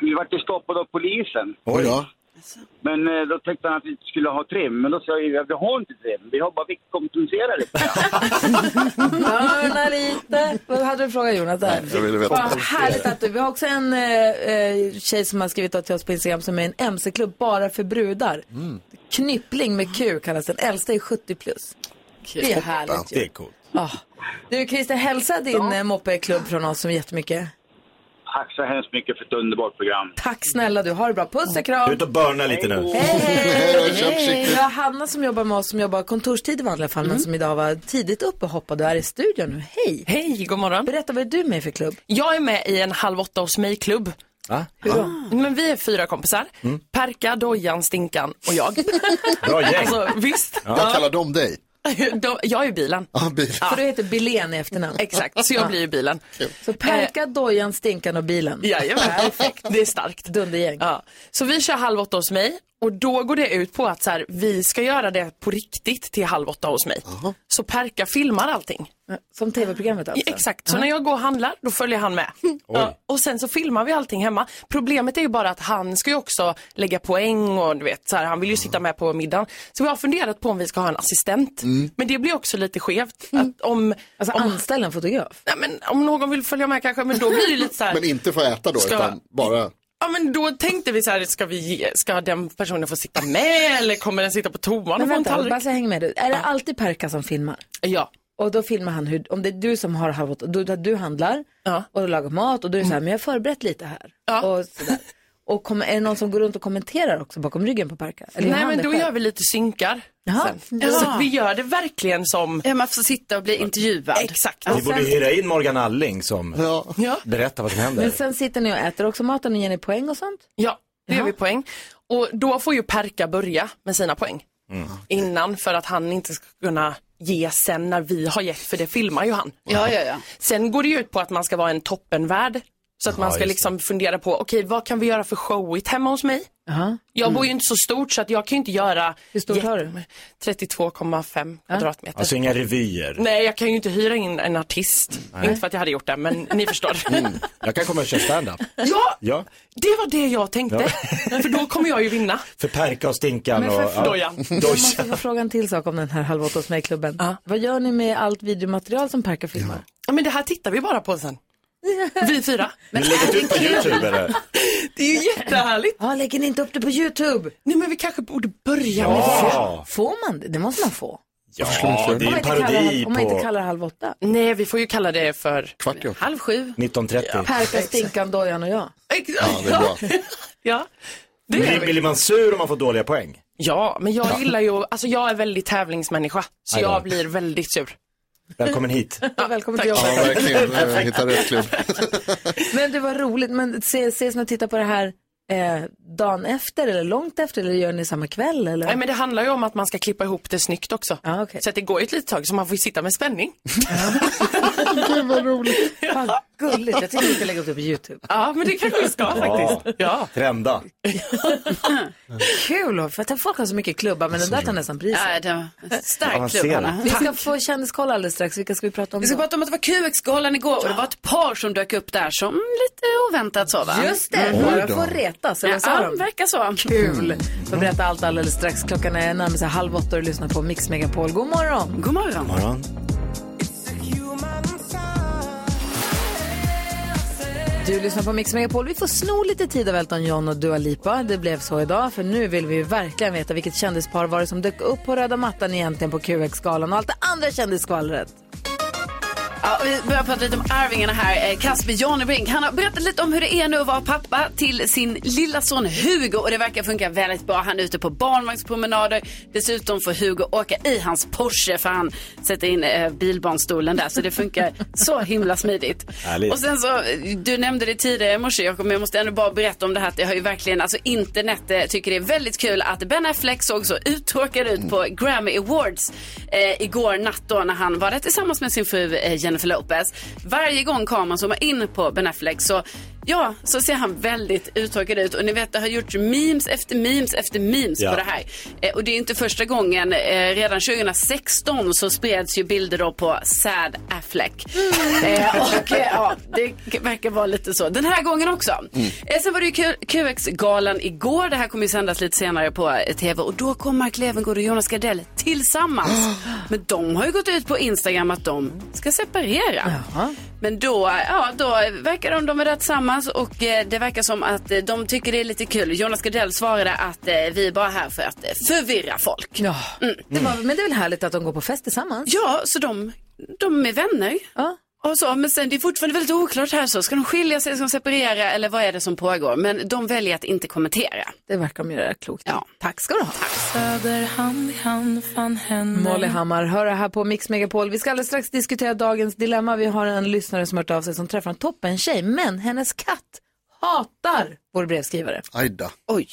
S16: Vi vart ju stoppade av polisen.
S4: Oj då.
S2: Alltså.
S16: Men eh, då tänkte han att vi inte skulle ha trim, men då sa jag att vi har inte trim, vi har bara viktkompenserat lite.
S2: Hörna lite. Vad hade du frågat Jonas där?
S4: Jag ville veta.
S2: Vad härligt att du... Vi har också en eh, eh, tjej som har skrivit då till oss på Instagram som är en mc-klubb bara för brudar.
S3: Mm.
S2: Knyppling med Q kallas den. Äldsta är 70 plus. Det är härligt ju.
S3: Det är coolt.
S2: Ja. Du Christer, hälsa din ja. moppeklubb från oss som jättemycket.
S16: Tack så hemskt mycket för ett underbart program.
S2: Tack snälla du. Ha det bra. Puss och kram.
S3: Ut och börna lite nu.
S2: Hej! Vi har Hanna som jobbar med oss som jobbar kontorstid i vanliga fall
S8: Mm.
S2: men som idag var tidigt uppe och hoppade och är i studion nu. Hej!
S8: Hej, god morgon.
S2: Berätta, vad är du med för klubb?
S8: Jag är med i en halv åtta hos mig-klubb.
S3: Va?
S8: Men vi är fyra kompisar. Perka, Dojan, Stinkan och jag.
S4: Mm. Bra gäng.
S8: Alltså, visst.
S4: Vad kallar de dig?
S8: De, jag är bilen.
S4: Ja, bilen.
S2: För du heter Bilén i efternamn.
S8: Exakt, så jag
S2: Ja.
S8: blir ju bilen.
S2: Så Perka, dojan, stinkan och bilen.
S8: Jajamän, perfekt. Det är starkt.
S2: Dundergäng.
S8: Ja. Så vi kör halv åtta hos mig och då går det ut på att så här, vi ska göra det på riktigt till halv åtta hos mig. Så Perka filmar allting.
S2: Som tv-programmet alltså?
S8: Ja, exakt, så när jag går och handlar då följer han med. Ja, och sen så filmar vi allting hemma. Problemet är ju bara att han ska ju också lägga poäng och du vet, så här, han vill ju
S2: Mm.
S8: sitta med på middagen. Så vi har funderat på om vi ska ha en assistent. Men det blir också lite skevt. Att om,
S2: alltså
S8: om,
S2: anställa en fotograf?
S8: Nej, men om någon vill följa med kanske, men då blir det lite så här.
S4: Men inte få äta då,
S8: Ska-
S4: utan bara...
S8: Ja men då tänkte vi så här, ska, vi ge, ska den personen få sitta med eller kommer den sitta på toan och
S2: Men
S8: få en
S2: vänta,
S8: tallrik?
S2: bara så jag hänger med dig. Är det alltid Perka som filmar?
S8: Ja.
S2: Och då filmar han hur, om det är du som har halv åtta, du, du handlar och du lagar mat och då är det så
S8: Mm.
S2: här, men jag har förberett lite här. Och, sådär. och kommer, är det någon som går runt och kommenterar också bakom ryggen på Perka? Eller gör
S8: Nej
S2: han
S8: men
S2: det
S8: då
S2: själv?
S8: gör vi lite synkar. Sen.
S2: Ja.
S8: Så att vi gör det verkligen som... Ja, man får sitta och bli intervjuad. Exakt.
S3: Ni borde hyra in Morgan Alling som berättar vad som händer.
S2: Men sen sitter ni och äter också maten och ger ni poäng och sånt?
S8: Ja, det gör vi poäng. Och då får ju Perka börja med sina poäng.
S3: Mm.
S8: Innan för att han inte ska kunna ge sen när vi har gett, för det filmar ju han.
S5: Ja, ja, ja.
S8: Sen går det ju ut på att man ska vara en toppenvärd. Så att
S5: Ja,
S8: man ska
S5: just
S8: liksom fundera på, okej vad kan vi göra för showigt hemma hos mig? Jag bor ju inte så stort så att jag kan ju inte göra... Hur stort har du? 32,5 kvadratmeter.
S3: Alltså inga revyer.
S8: Nej, jag kan ju inte hyra in en artist.
S3: Nej.
S8: Inte för att jag hade gjort det, men ni förstår.
S3: Jag kan komma och köra stand-up.
S8: Ja,
S3: Ja,
S8: det var det jag tänkte. För då kommer jag ju vinna.
S3: för Perka och Stinkan
S2: Men för-
S3: och... ja.
S8: Dojan.
S2: Jag
S3: Dojan.
S2: måste få fråga en till sak om den här halv åtta hos mig-klubben. Vad gör ni med allt videomaterial som Perka filmar?
S8: Ja, men det här tittar vi bara på sen. Vi fyra.
S3: Men lägger du ut på YouTube eller?
S8: Det är ju jättehärligt.
S2: Ja, lägger ni inte upp det på YouTube?
S8: Nej, men vi kanske borde börja
S3: Ja.
S2: med
S3: Ja.
S2: det. Får man det? Det måste man få.
S3: Ja, det är
S2: Om
S3: ju
S2: man
S3: en
S2: inte kallar
S3: parodi
S2: det-
S3: på...
S2: Om man inte kallar det halv åtta.
S8: Nej, vi får ju kalla det för
S4: Kvart i åtta.
S8: halv sju.
S3: 1930.
S2: Perka, Stinkan, Dojan och jag.
S8: Ja,
S3: det är bra.
S8: Ja. Det gör
S3: Blir,
S8: vi.
S3: blir man sur om man får dåliga poäng?
S8: Ja, men jag gillar ju, alltså jag är väldigt tävlingsmänniska, så
S3: Aj då.
S8: jag blir väldigt sur.
S3: Välkommen hit.
S2: Välkommen till
S8: Tack.
S2: jobbet.
S4: Ja, verkligen. Eh, Hitta rätt klubb.
S2: Men det var roligt. Men ses, ses ni och tittar på det här eh, dagen efter eller långt efter eller gör ni samma kväll? Eller?
S8: Nej, men det handlar ju om att man ska klippa ihop det snyggt också. Så att det går ju ett litet tag, så man får ju sitta med spänning.
S2: Gud vad roligt. Vad gulligt. Jag tycker vi ska lägga upp det på YouTube.
S8: Ja, men det kanske vi ska faktiskt. Ja.
S3: Trenda.
S2: Kul. och- För att folk har så mycket klubbar men den där tar nästan priset.
S5: Nej, det var
S3: Ja, man
S5: stark
S3: ser
S5: klubb,
S3: det.
S5: Anna.
S2: Vi ska få kändiskoll alldeles strax. Vilka ska vi prata om
S5: Vi ska
S2: då?
S5: prata om att det var QX-galan igår och det var ett par som dök upp där som lite oväntat så va?
S2: Just det,
S5: Mm.
S2: några får retas. Eller vad sa
S5: Ja,
S2: de?
S5: verkar så.
S2: Kul. Får berätta allt alldeles strax. Klockan är närmare sig halv åtta och du lyssnar på Mix Megapol. God morgon.
S5: God morgon.
S2: Du lyssnar på Mix Megapol. Vi får sno lite tid av Elton John och Dua Lipa. Det blev så idag, för nu vill vi ju verkligen veta vilket kändispar var det som dök upp på röda mattan egentligen på QX-galan och allt det andra kändisskvallret.
S5: Ja, vi börjar prata lite om Arvingarna här. Eh, Kasper Janebrink, han har berättat lite om hur det är nu att vara pappa till sin lilla son Hugo och det verkar funka väldigt bra. Han är ute på barnvagnspromenader. Dessutom får Hugo åka i hans Porsche för han sätter in eh, bilbarnstolen där så det funkar så himla smidigt.
S14: Härligt.
S5: Och sen så, eh, du nämnde det tidigare i morse Jakob, men jag måste ändå bara berätta om det här att det har ju verkligen, alltså internet eh, tycker det är väldigt kul att Ben Affleck såg så uttråkad ut på Grammy Awards eh, igår natt då när han var där tillsammans med sin fru eh, Jennifer Lopez. Varje gång kameran zoomar in på Ben Affleck så Ja, så ser han väldigt uttråkad ut och ni vet det har gjorts memes efter memes efter memes
S14: Ja.
S5: på det här. Eh, och det är inte första gången. Eh, redan 2016 så spreds ju bilder då på Sad Affleck. Eh, och eh, ja, det verkar vara lite så. Den här gången också.
S2: Mm.
S5: Eh, sen var det ju Q- QX-galan igår. Det här kommer ju sändas lite senare på eh, TV och då kom Mark Levengood och Jonas Gardell tillsammans. Men de har ju gått ut på Instagram att de ska separera. Men då, eh, ja, då verkar de, de vara tillsammans och eh, det verkar som att eh, de tycker det är lite kul. Jonas Gardell svarade att eh, vi är bara här för att eh, förvirra folk. Mm.
S2: Ja, det var, men det är väl härligt att de går på fest tillsammans?
S5: Ja, så de, de är vänner. Och så, men sen det är fortfarande väldigt oklart här så. Ska de skilja sig, ska de separera eller vad är det som pågår? Men de väljer att inte kommentera.
S2: Det verkar de göra klokt. Ja. Tack ska du ha.
S6: Söder hand i hand fan händer.
S2: Molly Hammar, hör det här på Mix Megapol. Vi ska alldeles strax diskutera dagens dilemma. Vi har en lyssnare som hört av sig som träffar en toppen tjej, men hennes katt hatar vår brevskrivare.
S4: Ajda.
S2: Oj.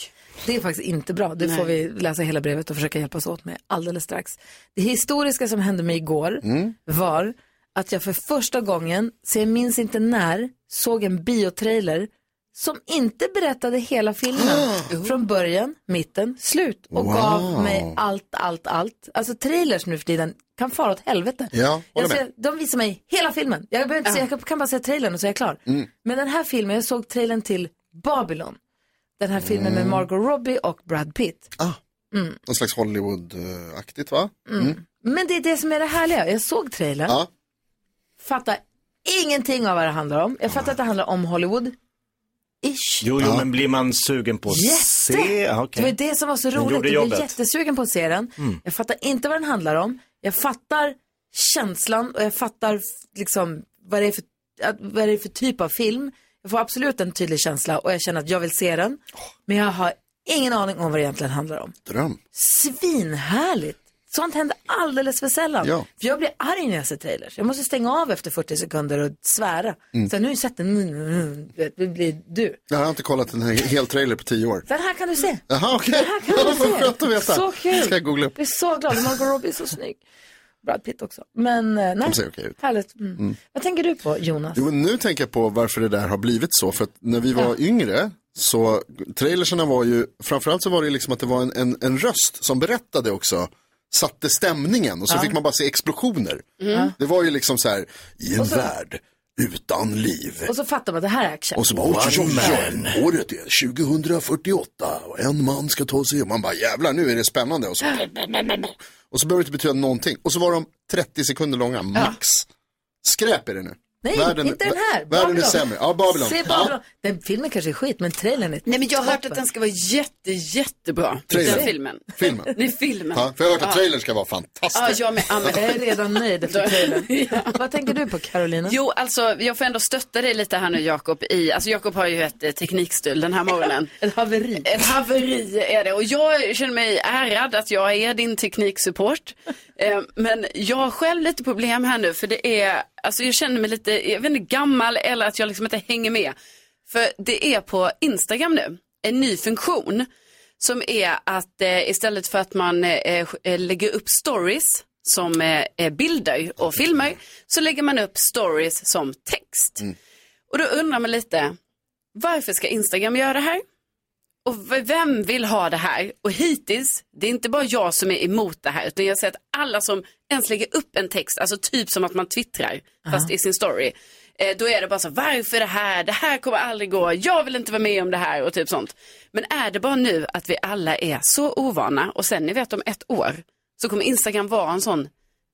S2: Det är faktiskt inte bra. Det
S4: Nej.
S2: får vi läsa hela brevet och försöka hjälpas åt med alldeles strax. Det historiska som hände mig igår
S4: Mm.
S2: var att jag för första gången, så jag minns inte när, såg en biotrailer som inte berättade hela filmen. Från början, mitten, slut och
S4: Wow.
S2: gav mig allt, allt, allt. Alltså trailers nu för tiden kan fara åt helvete.
S4: Ja, håller
S2: jag
S4: med.
S2: ser, de visar mig hela filmen. Jag, behöver inte se, jag kan bara se trailern och så är jag klar.
S4: Mm.
S2: Men den här filmen, jag såg trailern till Babylon. Den här filmen med Margot Robbie och Brad Pitt. Mm.
S4: Någon slags Hollywood-aktigt va?
S2: Mm. Men det är det som är det härliga. Jag såg trailern.
S4: Ja.
S2: Fattar ingenting av vad det handlar om. Jag fattar att det handlar om Hollywood. Ish.
S3: Jo, jo, men blir man sugen på att
S2: Jätte!
S3: se? Ja, okej.
S2: Det var det som var så
S3: Den gjorde
S2: roligt. Jag blev
S3: jobbet.
S2: jättesugen på att se den.
S3: Mm.
S2: Jag fattar inte vad den handlar om. Jag fattar känslan och jag fattar f- liksom vad det är för, att, vad det är för typ av film. Jag får absolut en tydlig känsla och jag känner att jag vill se den. Men jag har ingen aning om vad det egentligen handlar om.
S4: Dröm.
S2: Svinhärligt! Sånt händer alldeles för sällan.
S4: Ja.
S2: För jag blir arg när jag ser trailers. Jag måste stänga av efter 40 sekunder och svära.
S4: Mm.
S2: Så nu har jag sett den, mm, mm, du vet, det blir du.
S4: Jag har inte kollat en hel trailer på tio år.
S2: Den här kan du se.
S4: Jaha, okej.
S2: Den här kan du
S4: Vad
S2: se.
S4: skönt att veta.
S2: Så kul.
S4: Ska jag googla upp.
S2: Jag är så glad. Margot Robbie är så snygg. Brad Pitt också. Men eh, nej.
S4: De ser okej ut.
S2: Härligt. Mm. Mm. Vad tänker du på Jonas?
S4: Jo, men nu tänker jag på varför det där har blivit så. För att när vi var yngre så trailersarna var ju, framförallt så var det ju liksom att det var en, en, en röst som berättade också, satte stämningen och så
S17: Ja.
S4: fick man bara se explosioner.
S2: Mm. Ja.
S4: Det var ju liksom så här, i en
S2: Och så-
S4: värld utan liv.
S2: Och så fattar man att det här är action.
S4: Och så bara, oj, oj, oj, året är 2048 och en man ska ta sig och man bara jävlar nu är det spännande och så, och så behöver det inte betyda någonting. Och så var de 30 sekunder långa max. Skräp är det nu.
S2: Nej, inte den här.
S4: Världen är
S2: Babylon.
S4: sämre. Ja, Babylon.
S2: Se Babylon. Den filmen kanske är skit, men trailern är
S5: Nej men jag har hört
S2: toppen.
S5: att den ska vara jätte, jättebra.
S4: Trailern.
S5: Den filmen.
S4: Filmen.
S5: Nej, filmen.
S4: Ja, för jag har hört att
S5: Ja.
S4: trailern ska vara fantastisk.
S5: Ja, jag med. Ja, men-
S2: Jag är redan nöjd efter trailern. Vad tänker du på Carolina?
S5: Jo, alltså jag får ändå stötta dig lite här nu Jakob i, alltså Jakob har ju ett eh, teknikstul den här morgonen.
S2: ett haveri.
S5: Ett haveri är det och jag känner mig ärad att jag är din tekniksupport. Eh, Men jag har själv lite problem här nu för det är, alltså jag känner mig lite, jag vet inte gammal eller att jag liksom inte hänger med. För det är på Instagram nu, en ny funktion som är att eh, istället för att man eh, sk- eh, lägger upp stories som eh, eh, bilder och filmer så lägger man upp stories som text. Och då undrar man lite, varför ska Instagram göra det här? Och v- vem vill ha det här? Och hittills, det är inte bara jag som är emot det här, utan jag ser att alla som ens lägger upp en text, alltså typ som att man twittrar, fast i sin story, eh, då är det bara så, varför det här? Det här kommer aldrig gå, jag vill inte vara med om det här och typ sånt. Men är det bara nu att vi alla är så ovana och sen ni vet om ett år så kommer Instagram vara en sån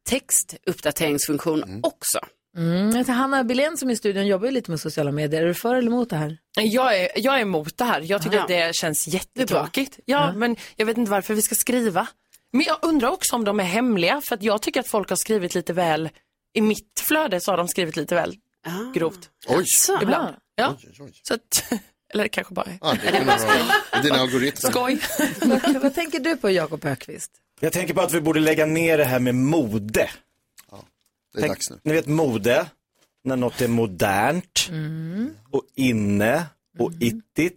S5: textuppdateringsfunktion också.
S2: Mm. jag tar Hanna Billén som är i studion jobbar ju lite med sociala medier. Är du för eller emot det här?
S8: Jag är, jag är emot det här. Jag tycker
S2: Ja.
S8: att det känns jättetråkigt. Ja, men jag vet inte varför vi ska skriva. Men jag undrar också om de är hemliga, för att jag tycker att folk har skrivit lite väl, i mitt flöde så har de skrivit lite väl
S2: Ah.
S8: grovt.
S4: Oj.
S8: Ibland. Ja. Så att, eller det kanske bara är.
S4: Ja, det kunde vara dina algoritmer.
S8: Skoj.
S2: vad, vad tänker du på Jakob Högqvist?
S3: Jag tänker på att vi borde lägga ner det här med mode.
S4: det är dags nu.
S3: Ni vet mode, när något är modernt och inne och ittigt.
S2: Mm.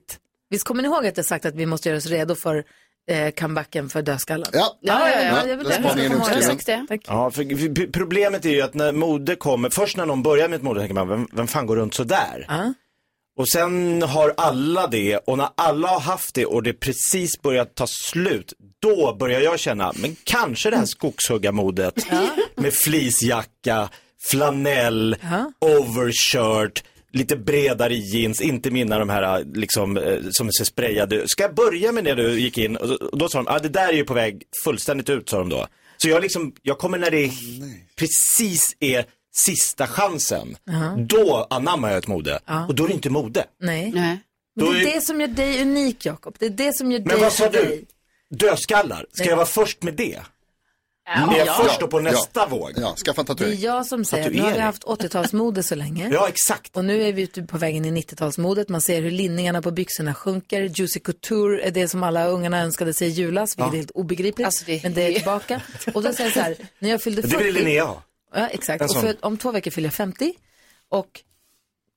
S2: Visst kommer ni ihåg att jag sagt att vi måste göra oss redo för eh, comebacken för dödskallen?
S4: Ja,
S2: jag vill läsa på morgonen. Tack.
S3: Ja, för för- p- problemet är ju att när mode kommer, först när någon börjar med ett mode tänker man, vem, vem fan går runt sådär? Och sen har alla det och när alla har haft det och det precis börjar ta slut, då börjar jag känna, men kanske det här skogshuggarmodet med fleecejacka, flanell, overshirt, lite bredare jeans, inte mina de här liksom, eh, som ser sprayade Ska jag börja med det du gick in? Och då- och då sa de, ah, det där är ju på väg fullständigt ut, sa de då. Så jag liksom, jag kommer när det precis är sista chansen,
S2: Ja.
S3: då anammar jag ett mode. Och då är det inte mode.
S2: Nej. Men
S3: Då
S2: det är
S3: är-
S2: det som gör dig unik Jakob. Det är det som gör
S3: Men
S2: dig
S3: vad sa
S2: till
S3: du?
S2: dig.
S3: Dödskallar, ska
S2: Nej.
S3: jag vara först med det?
S2: Ja.
S3: är jag
S2: Ja.
S3: först då på
S2: Ja.
S3: nästa våg?
S4: Ja, skaffa en
S2: Det är jag som säger att nu har vi haft 80-talsmode så länge.
S3: Ja, exakt.
S2: Och nu är vi ute på vägen i 90-talsmodet. Man ser hur linningarna på byxorna sjunker. Juicy couture är det som alla ungarna önskade sig i julas, vilket
S3: Ja.
S2: är helt obegripligt. Men Alltså, det är tillbaka. Och då säger jag så här, när jag fyllde
S3: Det
S2: 40.
S3: vill Linnea ha.
S2: Ja, exakt.
S3: En
S2: Och
S3: sån.
S2: för, om två veckor fyller jag 50. Och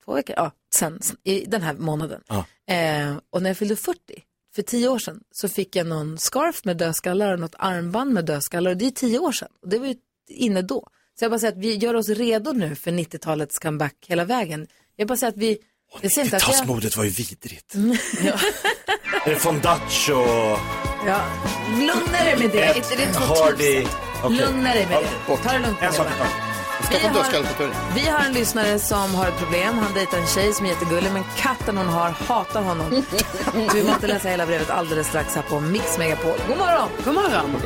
S2: två veckor, ja, sen s- i den här månaden.
S3: Ja.
S2: Eh, och när jag fyllde 40, för tio år sedan, så fick jag någon scarf med dödskallar och något armband med dödskallar. Och det är tio år sedan. Och det var ju inne då. Så jag bara säger att vi gör oss redo nu för 90-talets comeback hela vägen. Jag bara säger att vi... Jag säger inte att Alltså, jag...
S3: Tasmodet var ju vidrigt. Eh, Von Dutch och...
S2: Ja, lugna dig med det. Inte det
S3: Hardy.
S2: 2000? Lugna dig med det. Ta det lugnt med
S3: En sak
S2: det.
S3: i taget.
S2: Vi har- Vi har en lyssnare som har ett problem. Han dejtar en tjej som är jättegullig men katten hon har hatar honom. Så vi måste läsa hela brevet alldeles strax här på Mix Megapol. God morgon!
S5: God morgon!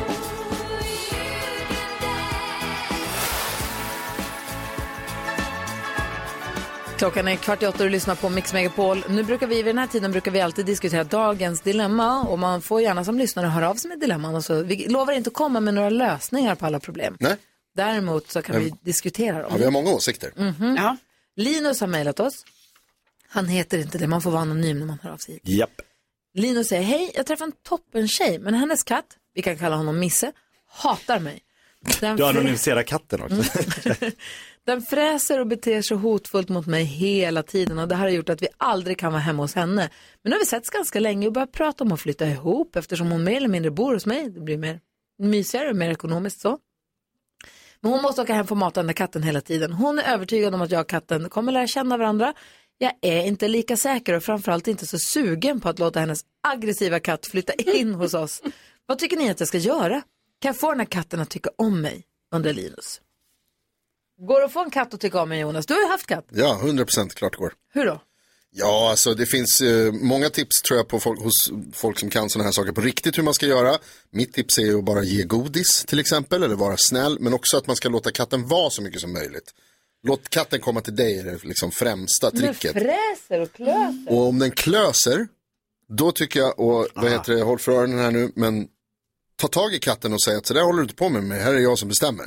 S2: Klockan är kvart i åtta och du lyssnar på Mix Megapol. Nu brukar vi vid den här tiden brukar vi alltid diskutera dagens dilemma och man får gärna som lyssnare höra av sig med dilemman och så. Vi lovar inte att komma med några lösningar på alla problem.
S4: Nej.
S2: Däremot så kan vi
S4: Mm.
S2: diskutera dem.
S4: Ja, vi har många åsikter.
S2: Mhm. Linus har mejlat oss. Han heter inte det, man får vara anonym när man hör av sig.
S3: Japp.
S2: Linus säger, hej, jag träffade en toppen tjej, men hennes katt, vi kan kalla honom Misse, hatar mig. Den,
S3: Du
S2: frä-
S3: anonymiserar katten
S2: Mm.
S3: också.
S2: den fräser och beter sig hotfullt mot mig hela tiden och det här har gjort att vi aldrig kan vara hemma hos henne. Men nu har vi setts ganska länge och börjat prata om att flytta ihop eftersom hon mer eller mindre bor hos mig. Det blir mer mysigare och mer ekonomiskt så. Men hon måste åka hem för att mata den där katten hela tiden. Hon är övertygad om att jag och katten kommer lära känna varandra. Jag är inte lika säker och framförallt inte så sugen på att låta hennes aggressiva katt flytta in hos oss. Vad tycker ni att jag ska göra? Kan jag få den här katten att tycka om mig? Undrar Linus. Går det att få en katt att tycka om mig Jonas? Du har ju haft katt.
S4: Ja, 100% klart går.
S2: Hur då?
S4: Ja, alltså det finns eh, många tips tror jag på folk, hos folk som kan sådana här saker på riktigt hur man ska göra. Mitt tips är ju att bara ge godis till exempel eller vara snäll, men också att man ska låta katten vara så mycket som möjligt. Låt katten komma till dig är det liksom främsta tricket.
S2: fräser och klöser.
S4: Och om den klöser, då tycker jag, och vad heter det, håll för öronen här nu, men ta tag i katten och säg att så där håller du inte på med mig, här är jag som bestämmer.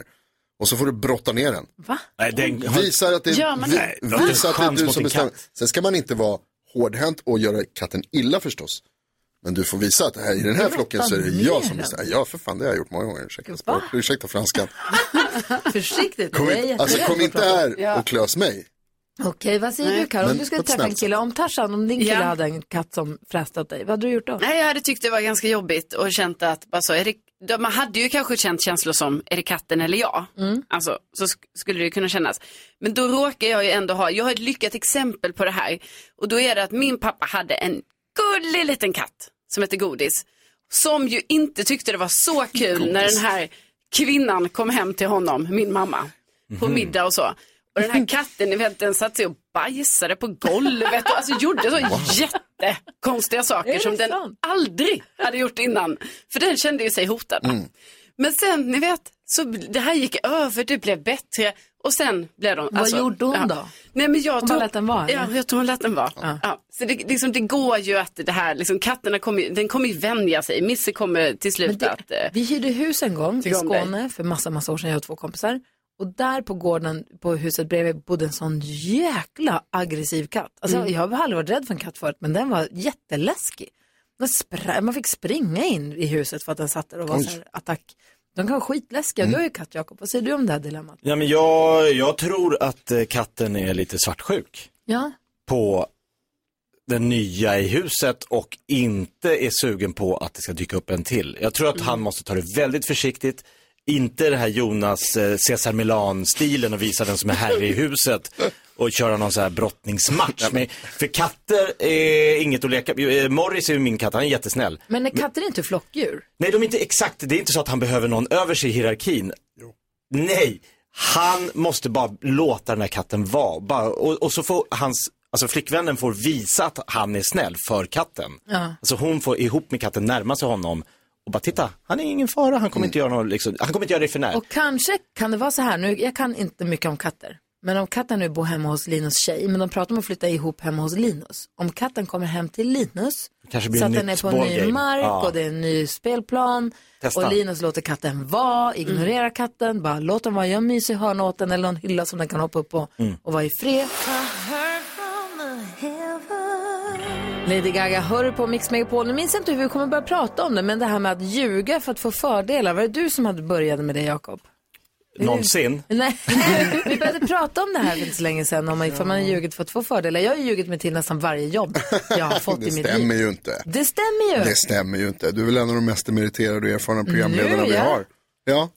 S4: Och så får du brotta ner den.
S5: Va?
S3: Nej, den
S4: Visar att det,
S5: Gör man
S4: vi-
S5: det?
S3: Va?
S4: visar att det
S3: Chans
S4: är du
S3: mot
S4: som
S3: en
S4: bestämmer.
S3: katt.
S4: Sen ska man inte vara hårdhänt och göra katten illa förstås. Men du får visa att det här, i den här
S2: Brotta
S4: flocken så är det
S2: ner
S4: jag
S2: den.
S4: som bestämmer. Ja, för fan, det har jag gjort många gånger. Ursäkta, språk, ursäkta franskan.
S2: Försiktigt.
S4: Kom,
S2: jag är
S4: inte- alltså,
S2: jätterädd
S4: kom
S2: för att
S4: inte
S2: prata.
S4: här och klös mig.
S2: Okej, vad säger
S4: Nej.
S2: du Karo? Om
S4: Men
S2: du
S4: på
S2: skulle
S4: ett
S2: träffa en
S4: snällt
S2: kille, om Tarzan, om din kille
S5: Ja.
S2: hade en katt som fräste åt dig, vad hade du gjort då?
S5: Nej, jag hade tyckt det var ganska jobbigt och känt att, alltså, är det, då- man hade ju kanske känt känslor som, är det katten eller jag? Alltså, så sk- skulle det ju kunna kännas. Men då råkar jag ju ändå ha, jag har ett lyckat exempel på det här. Och då är det att min pappa hade en gullig liten katt som hette Godis. Som ju inte tyckte det var så kul när den här kvinnan kom hem till honom, min mamma, på
S17: Mhm.
S5: middag och så. Och den här katten, ni vet, den satt sig och bajsade på golvet och alltså gjorde så jättekonstiga saker som den aldrig hade gjort innan. För den kände ju sig
S17: Mm.
S5: hotad.
S4: Mm.
S5: Men sen, ni vet, så det här gick över, det blev bättre och sen blev de... alltså,
S2: Vad gjorde hon
S5: ja.
S2: då?
S5: Nej, men jag
S2: Hon bara lät den vara, eller?
S5: Ja, jag tror hon lät den vara. Ja. Så det, liksom, det går ju att det här, liksom, katterna kommer, ju- den kommer ju vänja sig. Misse kommer till slut att... eh,
S2: Vi hyrde hus en gång i
S5: Tycker om dig.
S2: Skåne för massa, massa år sedan, jag och två kompisar. Och där på gården, på huset bredvid, bodde en sån jäkla aggressiv katt. Alltså,
S5: Mm.
S2: Jag har aldrig varit rädd för en katt förut, men den var jätteläskig. Den spr- man fick springa in i huset för att den satt där och var
S3: Oj.
S2: så här, attack. De kan vara skitläskiga. Du är ju katt, Jakob. Vad säger du om det här dilemmat?
S3: Ja, men jag, jag tror att eh, katten är lite svartsjuk
S2: Ja.
S3: på den nya i huset och inte är sugen på att det ska dyka upp en till. Jag tror att han måste ta det väldigt försiktigt. Inte det här Jonas eh, Cesar Milan-stilen och visa den som är herre i huset och köra någon sån här brottningsmatch. Men, för katter är inget att leka eh, Morris är ju min katt, han är jättesnäll.
S2: Men är katter inte flockdjur?
S3: Nej, de är inte exakt, det är inte så att han behöver någon över sig i hierarkin. Nej, han måste bara låta den här katten vara. Bara, och, och så får hans, alltså flickvännen får visa att han är snäll för katten.
S2: Ja.
S3: Alltså hon får ihop med katten närma sig honom och bara titta, han är ingen fara, han kommer inte göra något, liksom, han kommer inte göra dig för när.
S2: Och kanske kan det vara så här, nu, jag kan inte mycket om katter, men om katten nu bor hemma hos Linus tjej, men de pratar om att flytta ihop hemma hos Linus. Om katten kommer hem till Linus,
S3: Kanske blir
S2: så att
S3: nytt
S2: den är på en ny
S3: ballgame.
S2: mark
S3: Ja.
S2: och det är en ny spelplan
S3: Testa. Mm.
S2: och Linus låter katten vara, ignorera katten, bara låt den vara, gör en mysig hörna åt den eller någon hylla som den kan hoppa upp på
S3: Mm.
S2: och vara i fred. Lady Gaga, hör du på Mix Megapol? Nu minns jag inte hur vi kommer börja prata om det, men det här med att ljuga för att få fördelar, var det du som hade börjat med det, Jakob?
S3: någonsin.
S2: Nej, vi började prata om det här för inte så länge sedan, om man, ifall man har ljugit för att få fördelar. Jag har ju ljugit mig till nästan varje jobb jag har fått
S4: Det
S2: i mitt
S4: stämmer
S2: liv.
S4: ju inte.
S2: Det stämmer ju.
S4: Det stämmer ju inte. Du är väl en av de mest meriterade och erfarna programledarna
S2: Nu,
S4: vi
S2: ja.
S4: har. Ja.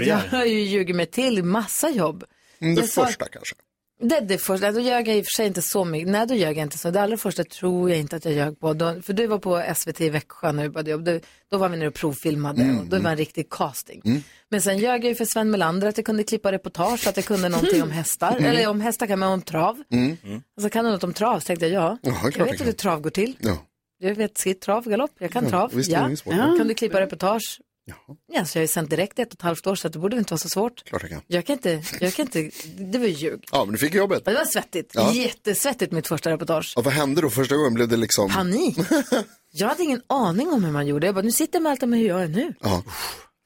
S2: Jag har ju ljugit mig till massa jobb.
S4: Mm, Det
S2: Jag sa-
S4: första kanske.
S2: Det, det första, då ljög jag i och för sig inte så mycket. Nej, då ljög jag inte så. Det allra första tror jag inte att jag ljög på. Då, för du var på SVT i Växjö när du började jobb. Då, då var vi nere och provfilmade
S4: Mm.
S2: och då var det en riktig casting.
S17: Mm.
S2: Men sen ljög jag ju för Sven Melander att jag kunde klippa reportage, att jag kunde någonting om hästar.
S4: Mm.
S2: Eller om hästar kan man om trav.
S4: Mm.
S2: Alltså kan du något om trav? Så tänkte jag, ja.
S4: Ja, det är klart
S2: jag
S4: jag
S2: vet
S4: kan.
S2: hur trav går till.
S4: Ja.
S2: Jag vet skritt, trav, galopp. Jag kan
S4: Ja,
S2: trav.
S4: visst är det
S2: ja.
S4: inget svårt. Ja.
S2: Kan du klippa reportage? Ja, så jag har ju sänt direkt i ett och ett halvt år så att det borde väl inte vara så svårt.
S4: Klart jag kan.
S2: Jag kan inte, jag kan inte, det var ju ljug.
S4: Ja, men du fick jobbet.
S2: Ja, Det var svettigt.
S4: Ja.
S2: Jättesvettigt mitt första reportage.
S4: Ja, vad hände då första gången? Blev det liksom...
S2: Panik. Jag hade ingen aning om hur man gjorde. Jag bara, nu sitter jag med allt om hur jag är nu.
S4: Ja.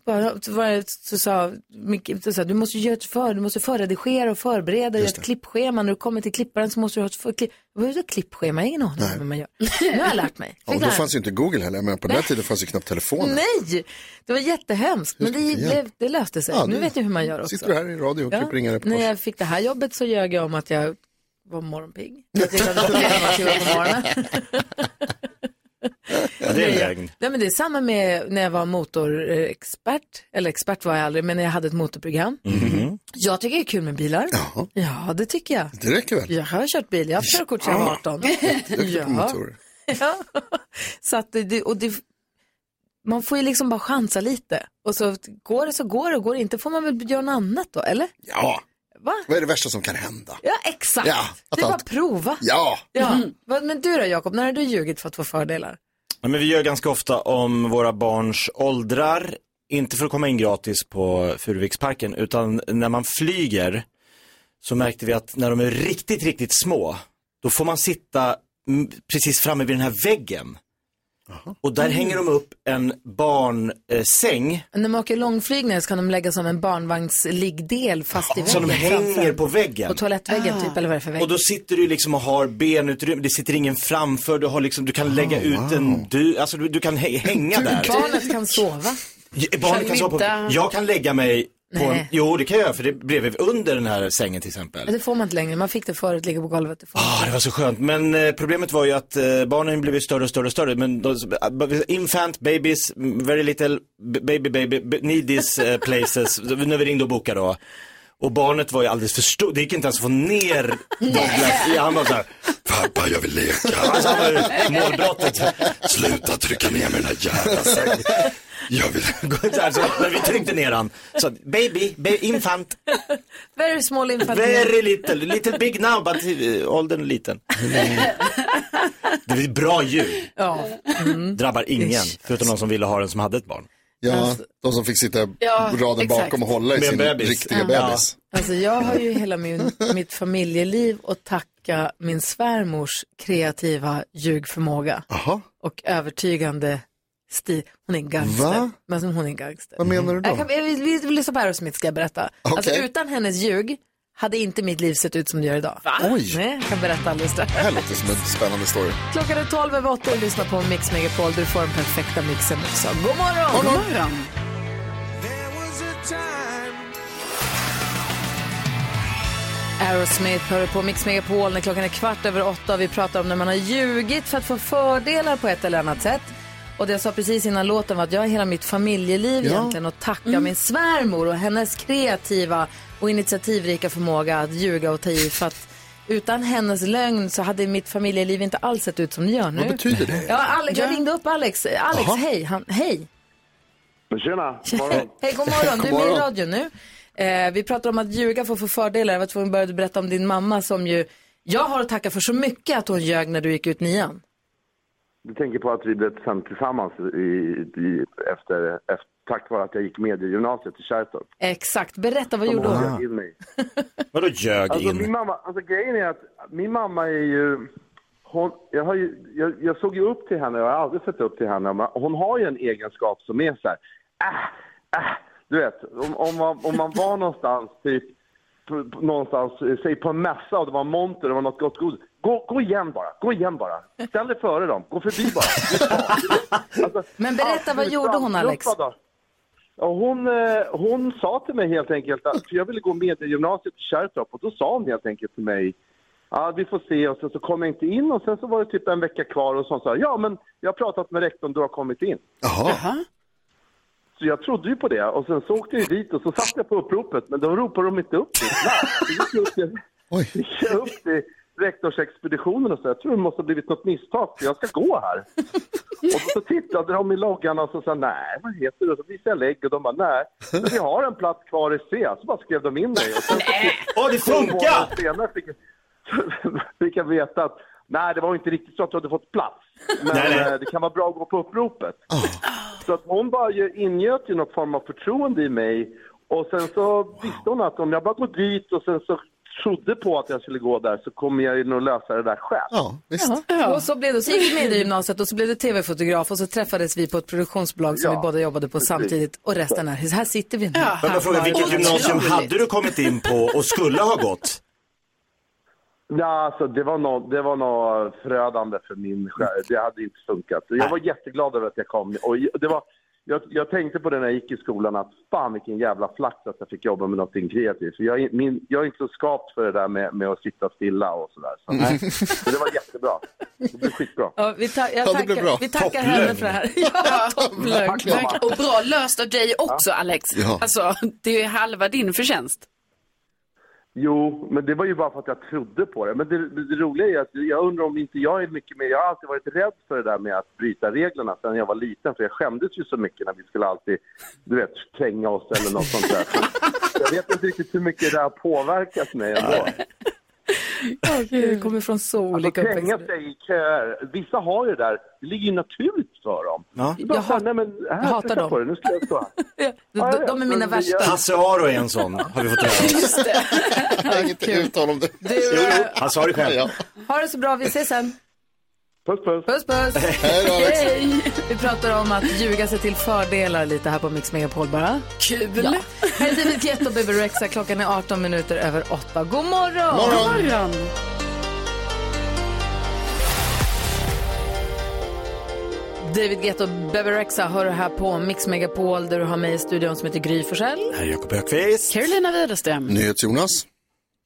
S2: Bara, så, var det, så, sa, Micke- så sa du måste ju göra ett för, du måste förredigera och förbereda, göra ett klippschema. När du kommer till klipparen så måste du ha ett för, klipp, vad är det, klippschema? Jag har ingen aning om hur man gör. Nu har jag lärt mig.
S4: Ja, och då fanns ju inte Google heller. Men på den här tiden fanns ju knappt telefoner.
S2: Nej, det var jättehemskt. Men det,
S4: Ja.
S2: blev, det löste sig.
S4: Ja,
S2: nu
S4: det-
S2: vet jag hur man gör också.
S4: Sitter du här i radio och typ
S2: Ja.
S4: klipper inga reportage?
S2: När jag fick det här jobbet så ljög jag om att jag var morgonpigg. Jag gillade att träna till på morgonen.
S3: Ja, det är lögn.
S2: Nej, men det är samma med när jag var motorexpert. Eller expert var jag aldrig, men när jag hade ett motorprogram.
S4: Mhm.
S2: Jag tycker det är kul med bilar.
S4: Ja,
S2: det tycker jag.
S4: Det räcker väl?
S2: Jag har kört bil, jag har haft körkort sedan jag var 18.
S4: Duktig på motorer.
S2: Ja. Så att det, och det, man får ju liksom bara chansa lite. Och så går det så går det, och går det inte får man väl göra något annat då, eller?
S4: Ja.
S2: Va?
S4: Vad är det värsta som kan hända?
S2: Ja, exakt.
S4: Ja, att
S2: det är bara
S4: allt-
S2: att prova.
S4: Ja.
S2: Ja.
S3: Mm.
S2: Vad- Men du då Jakob, när har du ljugit för att få fördelar?
S3: Ja, men vi gör ganska ofta om våra barns åldrar, inte för att komma in gratis på Furuviksparken, utan när man flyger så märkte vi att när de är riktigt, riktigt små, då får man sitta mm, precis framme vid den här väggen. Och där
S2: Mm.
S3: hänger de upp en barnsäng
S2: När man åker långflygningar så kan de lägga som en barnvagnsliggdel fast i väggen
S3: som de hänger
S2: framför.
S3: på väggen.
S2: På toalettväggen typ, eller vad är det för vägg?
S3: Och då sitter du liksom och har benutrymme, det sitter ingen framför, du, har liksom, du kan lägga ut en du, alltså du, du kan hä- hänga där.
S2: Barnet kan sova.
S3: Ja, Barnet kan sova på, jag kan lägga mig på en,
S2: Nej.
S3: jo det kan jag göra för det blev under den här sängen till exempel.
S2: Ja, Det får man inte längre, man fick det förut, ligga på golvet. Det får-
S3: Ah, det var så skönt. Men eh, problemet var ju att eh, barnen blev ju större och större och större. Men de, infant, babies, very little, b- baby, baby, b- need these eh, places. Så När vi ringde och bokade då. Och barnet var ju alldeles för stort. Det gick inte ens att få ner Douglas. Han var så här,
S17: Pappa, jag vill leka.
S3: alltså, han var ju målbrottet.
S17: Sluta trycka ner mig i den här jävla sängen. Jag vill...
S3: alltså, när vi tryckte ner han. Så att, baby, ba- infant,
S2: Very small infant.
S3: very little, little big now, but eh, åldern är liten. Det blir bra ljud.
S2: Ja. Mm.
S3: Drabbar ingen, förutom de som ville ha den som hade ett barn.
S4: Ja,
S2: Alltså-
S4: de som fick sitta
S2: Ja,
S4: raden
S2: exakt.
S4: bakom och hålla i
S3: Med
S4: sin
S3: bebis.
S4: riktiga
S3: Ja.
S4: bebis.
S2: Alltså jag har ju hela min, mitt familjeliv att tacka min svärmors kreativa ljugförmåga. Och övertygande stil. Hon är en gangster.
S4: Va?
S2: Men alltså, hon är en gangster.
S4: Vad menar du då?
S2: Jag kan, jag, vi, vi vi lyssnar på Aerosmith ska jag berätta.
S4: Okej.
S2: Alltså utan hennes ljug hade inte mitt liv sett ut som det gör idag.
S4: Oj.
S2: Nej, jag kan berätta alldeles strax.
S4: Det här låter som en spännande story.
S2: Klockan är 12 över 8 och lyssna på Mix Megapol. Du får den perfekta mixen också. God
S4: God
S2: morgon!
S4: morgon.
S2: Aerosmith hör du på Mix Megapol när klockan är kvart över åtta. Vi pratar om när man har ljugit för att få fördelar på ett eller annat sätt. Och det jag sa precis innan låten var att jag har hela mitt familjeliv
S18: Ja.
S2: egentligen att tacka
S17: Mm.
S2: min svärmor och hennes kreativa och initiativrika förmåga att ljuga och ta i. För att utan hennes lögn så hade mitt familjeliv inte alls sett ut som det gör nu.
S17: Vad betyder det?
S2: Ja, Alex, jag ringde upp Alex. Alex,
S17: Jaha.
S2: hej. Han, hej.
S17: Men tjena, morgon.
S2: Hej, god morgon. Du är med i
S17: morgon.
S2: radio nu. Eh, vi pratar om att ljuga för att få fördelar. Jag var tvungen att börja berätta om din mamma som ju... Jag har att tacka för så mycket att hon ljög när du gick ut nian.
S17: Du tänker på att vi blev sänd tillsammans i, i, efter, efter, tack vare att jag gick med i gymnasiet i Kärrtorp.
S2: Exakt. Berätta, vad gjorde
S17: Som
S2: hon?
S17: ljög in mig.
S3: Vadå ljög
S17: Alltså,
S3: in?
S17: min mamma, alltså grejen är att min mamma är ju... Hon, jag, har ju jag, jag såg ju upp till henne, jag har aldrig sett upp till henne. Men hon har ju en egenskap som är så här... Ah, ah, du vet, om, om, man, om man var någonstans, typ, på- på- någonstans, eh, säg på en mässa och det var monter och det var något gott godis. Gå, gå igen bara, gå igen bara. Ställ dig före dem, gå förbi bara.
S2: Men berätta, vad gjorde hon, Alex?
S17: Uppad då. Och hon, eh, hon sa till mig helt enkelt att för jag ville gå mediegymnasiet i Kärrtorp och då sa hon helt enkelt till mig Ja, vi får se. Och sen så kom jag inte in och sen så var det typ en vecka kvar och så sa jag, ja men jag har pratat med rektorn, du har kommit in.
S4: Jaha.
S17: Så jag trodde ju på det och sen så åkte jag ju dit och så satt jag på uppropet men då ropade de inte upp mitt namn. Så gick jag upp till- gick jag upp till rektorsexpeditionen och så jag tror det måste ha blivit något misstag för jag ska gå här. Och så tittade de i loggan och så sa nej, vad heter du? Och så visade jag lägg och de bara nej, men vi har en plats kvar i C. Så bara skrev de in mig. Och sen så fick,
S3: Åh, det funkar!
S17: Två månader senare fick, jag- fick jag veta att nej, det var ju inte riktigt så att du hade fått plats. Men
S3: Nej, nej. Ah.
S17: eh, det kan vara bra att gå på uppropet. Så att hon bara ju ingöt ju någon form av förtroende i mig. Och sen så visste hon att om jag bara går dit och sen så trodde på att jag skulle gå där så kommer jag ju nog lösa det där själv.
S4: Ja,
S2: Och så blev det, så gick vi med i gymnasiet och så blev det tv-fotograf och så träffades vi på ett produktionsbolag som
S3: Ja,
S2: vi båda jobbade på
S3: precis.
S2: samtidigt och resten är, här sitter vi nu.
S3: Men
S2: Här
S3: jag frågar,
S2: var-
S3: vilket gymnasium
S2: Otroligt.
S3: hade du kommit in på och skulle ha gått?
S17: Ja, alltså det var nog det var nå förödande för min själ. Det hade inte funkat. Jag var jätteglad över att jag kom. Och det var, jag, jag tänkte på det när jag gick i skolan att fan vilken jävla flax att jag fick jobba med någonting kreativt. För Jag, är- min, jag är inte så skapt för det där med, med att sitta stilla och sådär. Så, nej. Men det var jättebra. Det blev skitbra.
S2: Ja, vi, ta- jag
S17: Ja, det
S2: tackar,
S17: blev bra.
S2: vi tackar
S17: Topplögn.
S2: henne för det här. Ja, topplögn.
S17: Tack, mamma.
S5: Verkligen. Och bra löst av dig också Alex.
S17: Ja.
S5: Alltså, det är ju halva din förtjänst.
S17: Jo, men det var ju bara för att jag trodde på det. Men det, det roliga är att jag undrar om inte jag är mycket mer... Jag har alltid varit rädd för det där med att bryta reglerna sen jag var liten. För jag skämdes ju så mycket när vi skulle alltid, du vet, kränga oss eller något sånt där. Så jag vet inte riktigt hur mycket det har påverkat mig ändå.
S2: Ja, gud, det kommer från så olika
S17: Alltså, kränga
S2: uppväxter.
S17: sig i köer. Vissa har ju det där. Det ligger ju naturligt för dem.
S3: Ja.
S17: Jag,
S2: hat-
S17: nej, men, här,
S2: jag hatar
S17: titta
S2: dem.
S17: På det. Nu ska jag stå här.
S2: De, de, de är mina värsta.
S3: Hasse Aro är en sån, har vi fått höra.
S2: Just det.
S4: Inget uttal om det.
S2: eh,
S3: Jo, jo, han sa det själv.
S2: Ha det så bra, vi ses sen.
S17: Puss, puss.
S2: Puss, puss.
S4: Hej då, Alex.
S2: Hej. Vi pratar om att ljuga sig till fördelar lite här på Mix Megapol bara. Kul. Ja. Här är David Guetta och Baby Rexha. Klockan är 18 minuter över 8. God morgon.
S4: Morgon. God
S2: David Guetta och Baby Rexha hör du här på Mix Megapol där du har mig i studion som heter Gry Forssell.
S3: Här är Jakob Ökvist.
S2: Carolina Widerström.
S4: NyhetsJonas.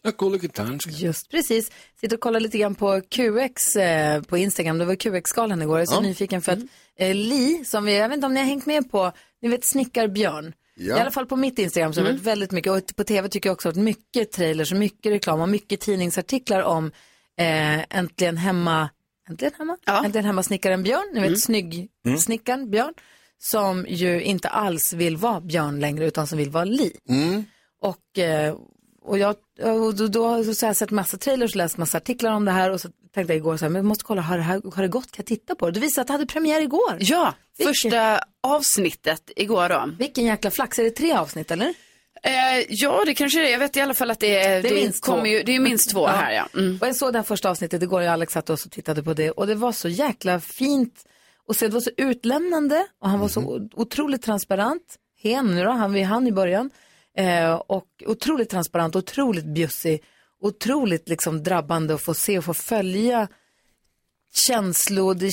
S7: Jag kollar gitarren.
S2: Just precis. Sitter och kollar lite grann på QX eh, på Instagram. Det var QX-galan igår. Jag är så
S4: Ja. Mm.
S2: nyfiken för att eh, Li, som vi, jag vet inte om ni har hängt med på, ni vet Snickarbjörn.
S4: Ja. Mm.
S2: I alla fall på mitt Instagram så har det varit väldigt mycket, och på tv tycker jag också att mycket trailers, och mycket reklam och mycket tidningsartiklar om eh, Äntligen hemma, Äntligen hemma? Äntligen hemma snickaren Björn, ni vet snygg
S4: Mm.
S2: snickaren Björn, som ju inte alls vill vara Björn längre utan som vill vara Li.
S4: Mm.
S2: Och, eh, och jag och då, då så har jag sett massa trailers, läst massa artiklar om det här och så tänkte jag igår så här, men jag måste kolla, har det, här, har det gått? Kan jag titta på det? Du visade att det hade premiär igår.
S5: Ja, första avsnittet igår då.
S2: Vilken jäkla flax, är det tre avsnitt eller?
S5: Eh, ja, det kanske det är. Jag vet i alla fall att Eh, det är,
S2: Det är minst två.
S5: kommer Ju, det är minst två här ja. Mm.
S2: Och jag såg det här första avsnittet igår, jag och Alex satt oss och tittade på det och det var så jäkla fint och se, det var så utlämnande och han var
S5: Mhm.
S2: så o- otroligt transparent. Hen nu då, han var ju han i början. Eh, och otroligt transparent, otroligt bjussig, otroligt liksom drabbande att få se och få följa känslor, det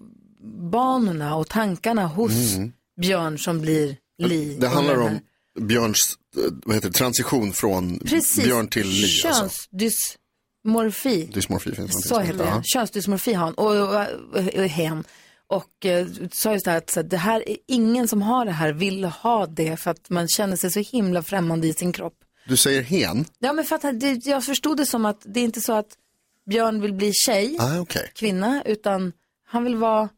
S2: känslobanorna och tankarna hos
S5: Mhm.
S4: Mm.
S2: Björn som blir Li.
S4: Det handlar
S2: under den
S4: om
S2: här-
S4: Björns eh, vad heter det, transition från
S2: Precis,
S4: Björn till Li. Alltså.
S2: könsdysmorfi.
S4: Dysmorfi finns någonting
S2: Så
S4: som
S2: heter det.
S4: Ja.
S2: Könsdysmorfi har han och, och, och, och hen. Och eh, sa just det här att så att det här är ingen som har det här vill ha det för att man känner sig så himla främmande i sin kropp.
S4: Du säger hen?
S2: Ja men för att han- det, jag förstod det som att det är inte så att Björn vill bli tjej,
S4: Ah, okej.
S2: kvinna, utan han vill vara,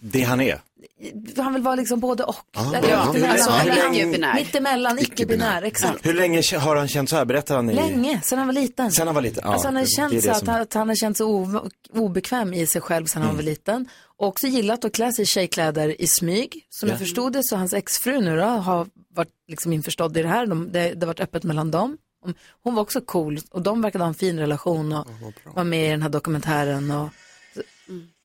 S3: Det han är.
S2: han vill vara liksom både och.
S3: Ah,
S2: Eller
S3: ja.
S2: mittemellan.
S3: Alltså,
S2: Mellan-
S3: icke-binär.
S2: Mittemellan, icke-binär, exakt.
S3: Hur länge k- har han känt så här? Berättar han i...
S2: Länge, sen han var liten.
S3: Sen han var liten? Ja,
S2: alltså han har
S3: det- det är
S2: känt
S3: det
S2: så att,
S3: som- Mm.
S2: han, att han har känt sig o- obekväm i sig själv sedan han var liten. Och också gillat att klä sig i tjejkläder i smyg. Som
S15: Ja.
S2: jag förstod det så hans exfru nu då har varit liksom införstådd i det här. De, det, det har varit öppet mellan dem. Om- Hon var också cool och de verkade ha en fin relation och var med i den här dokumentären. Och, så,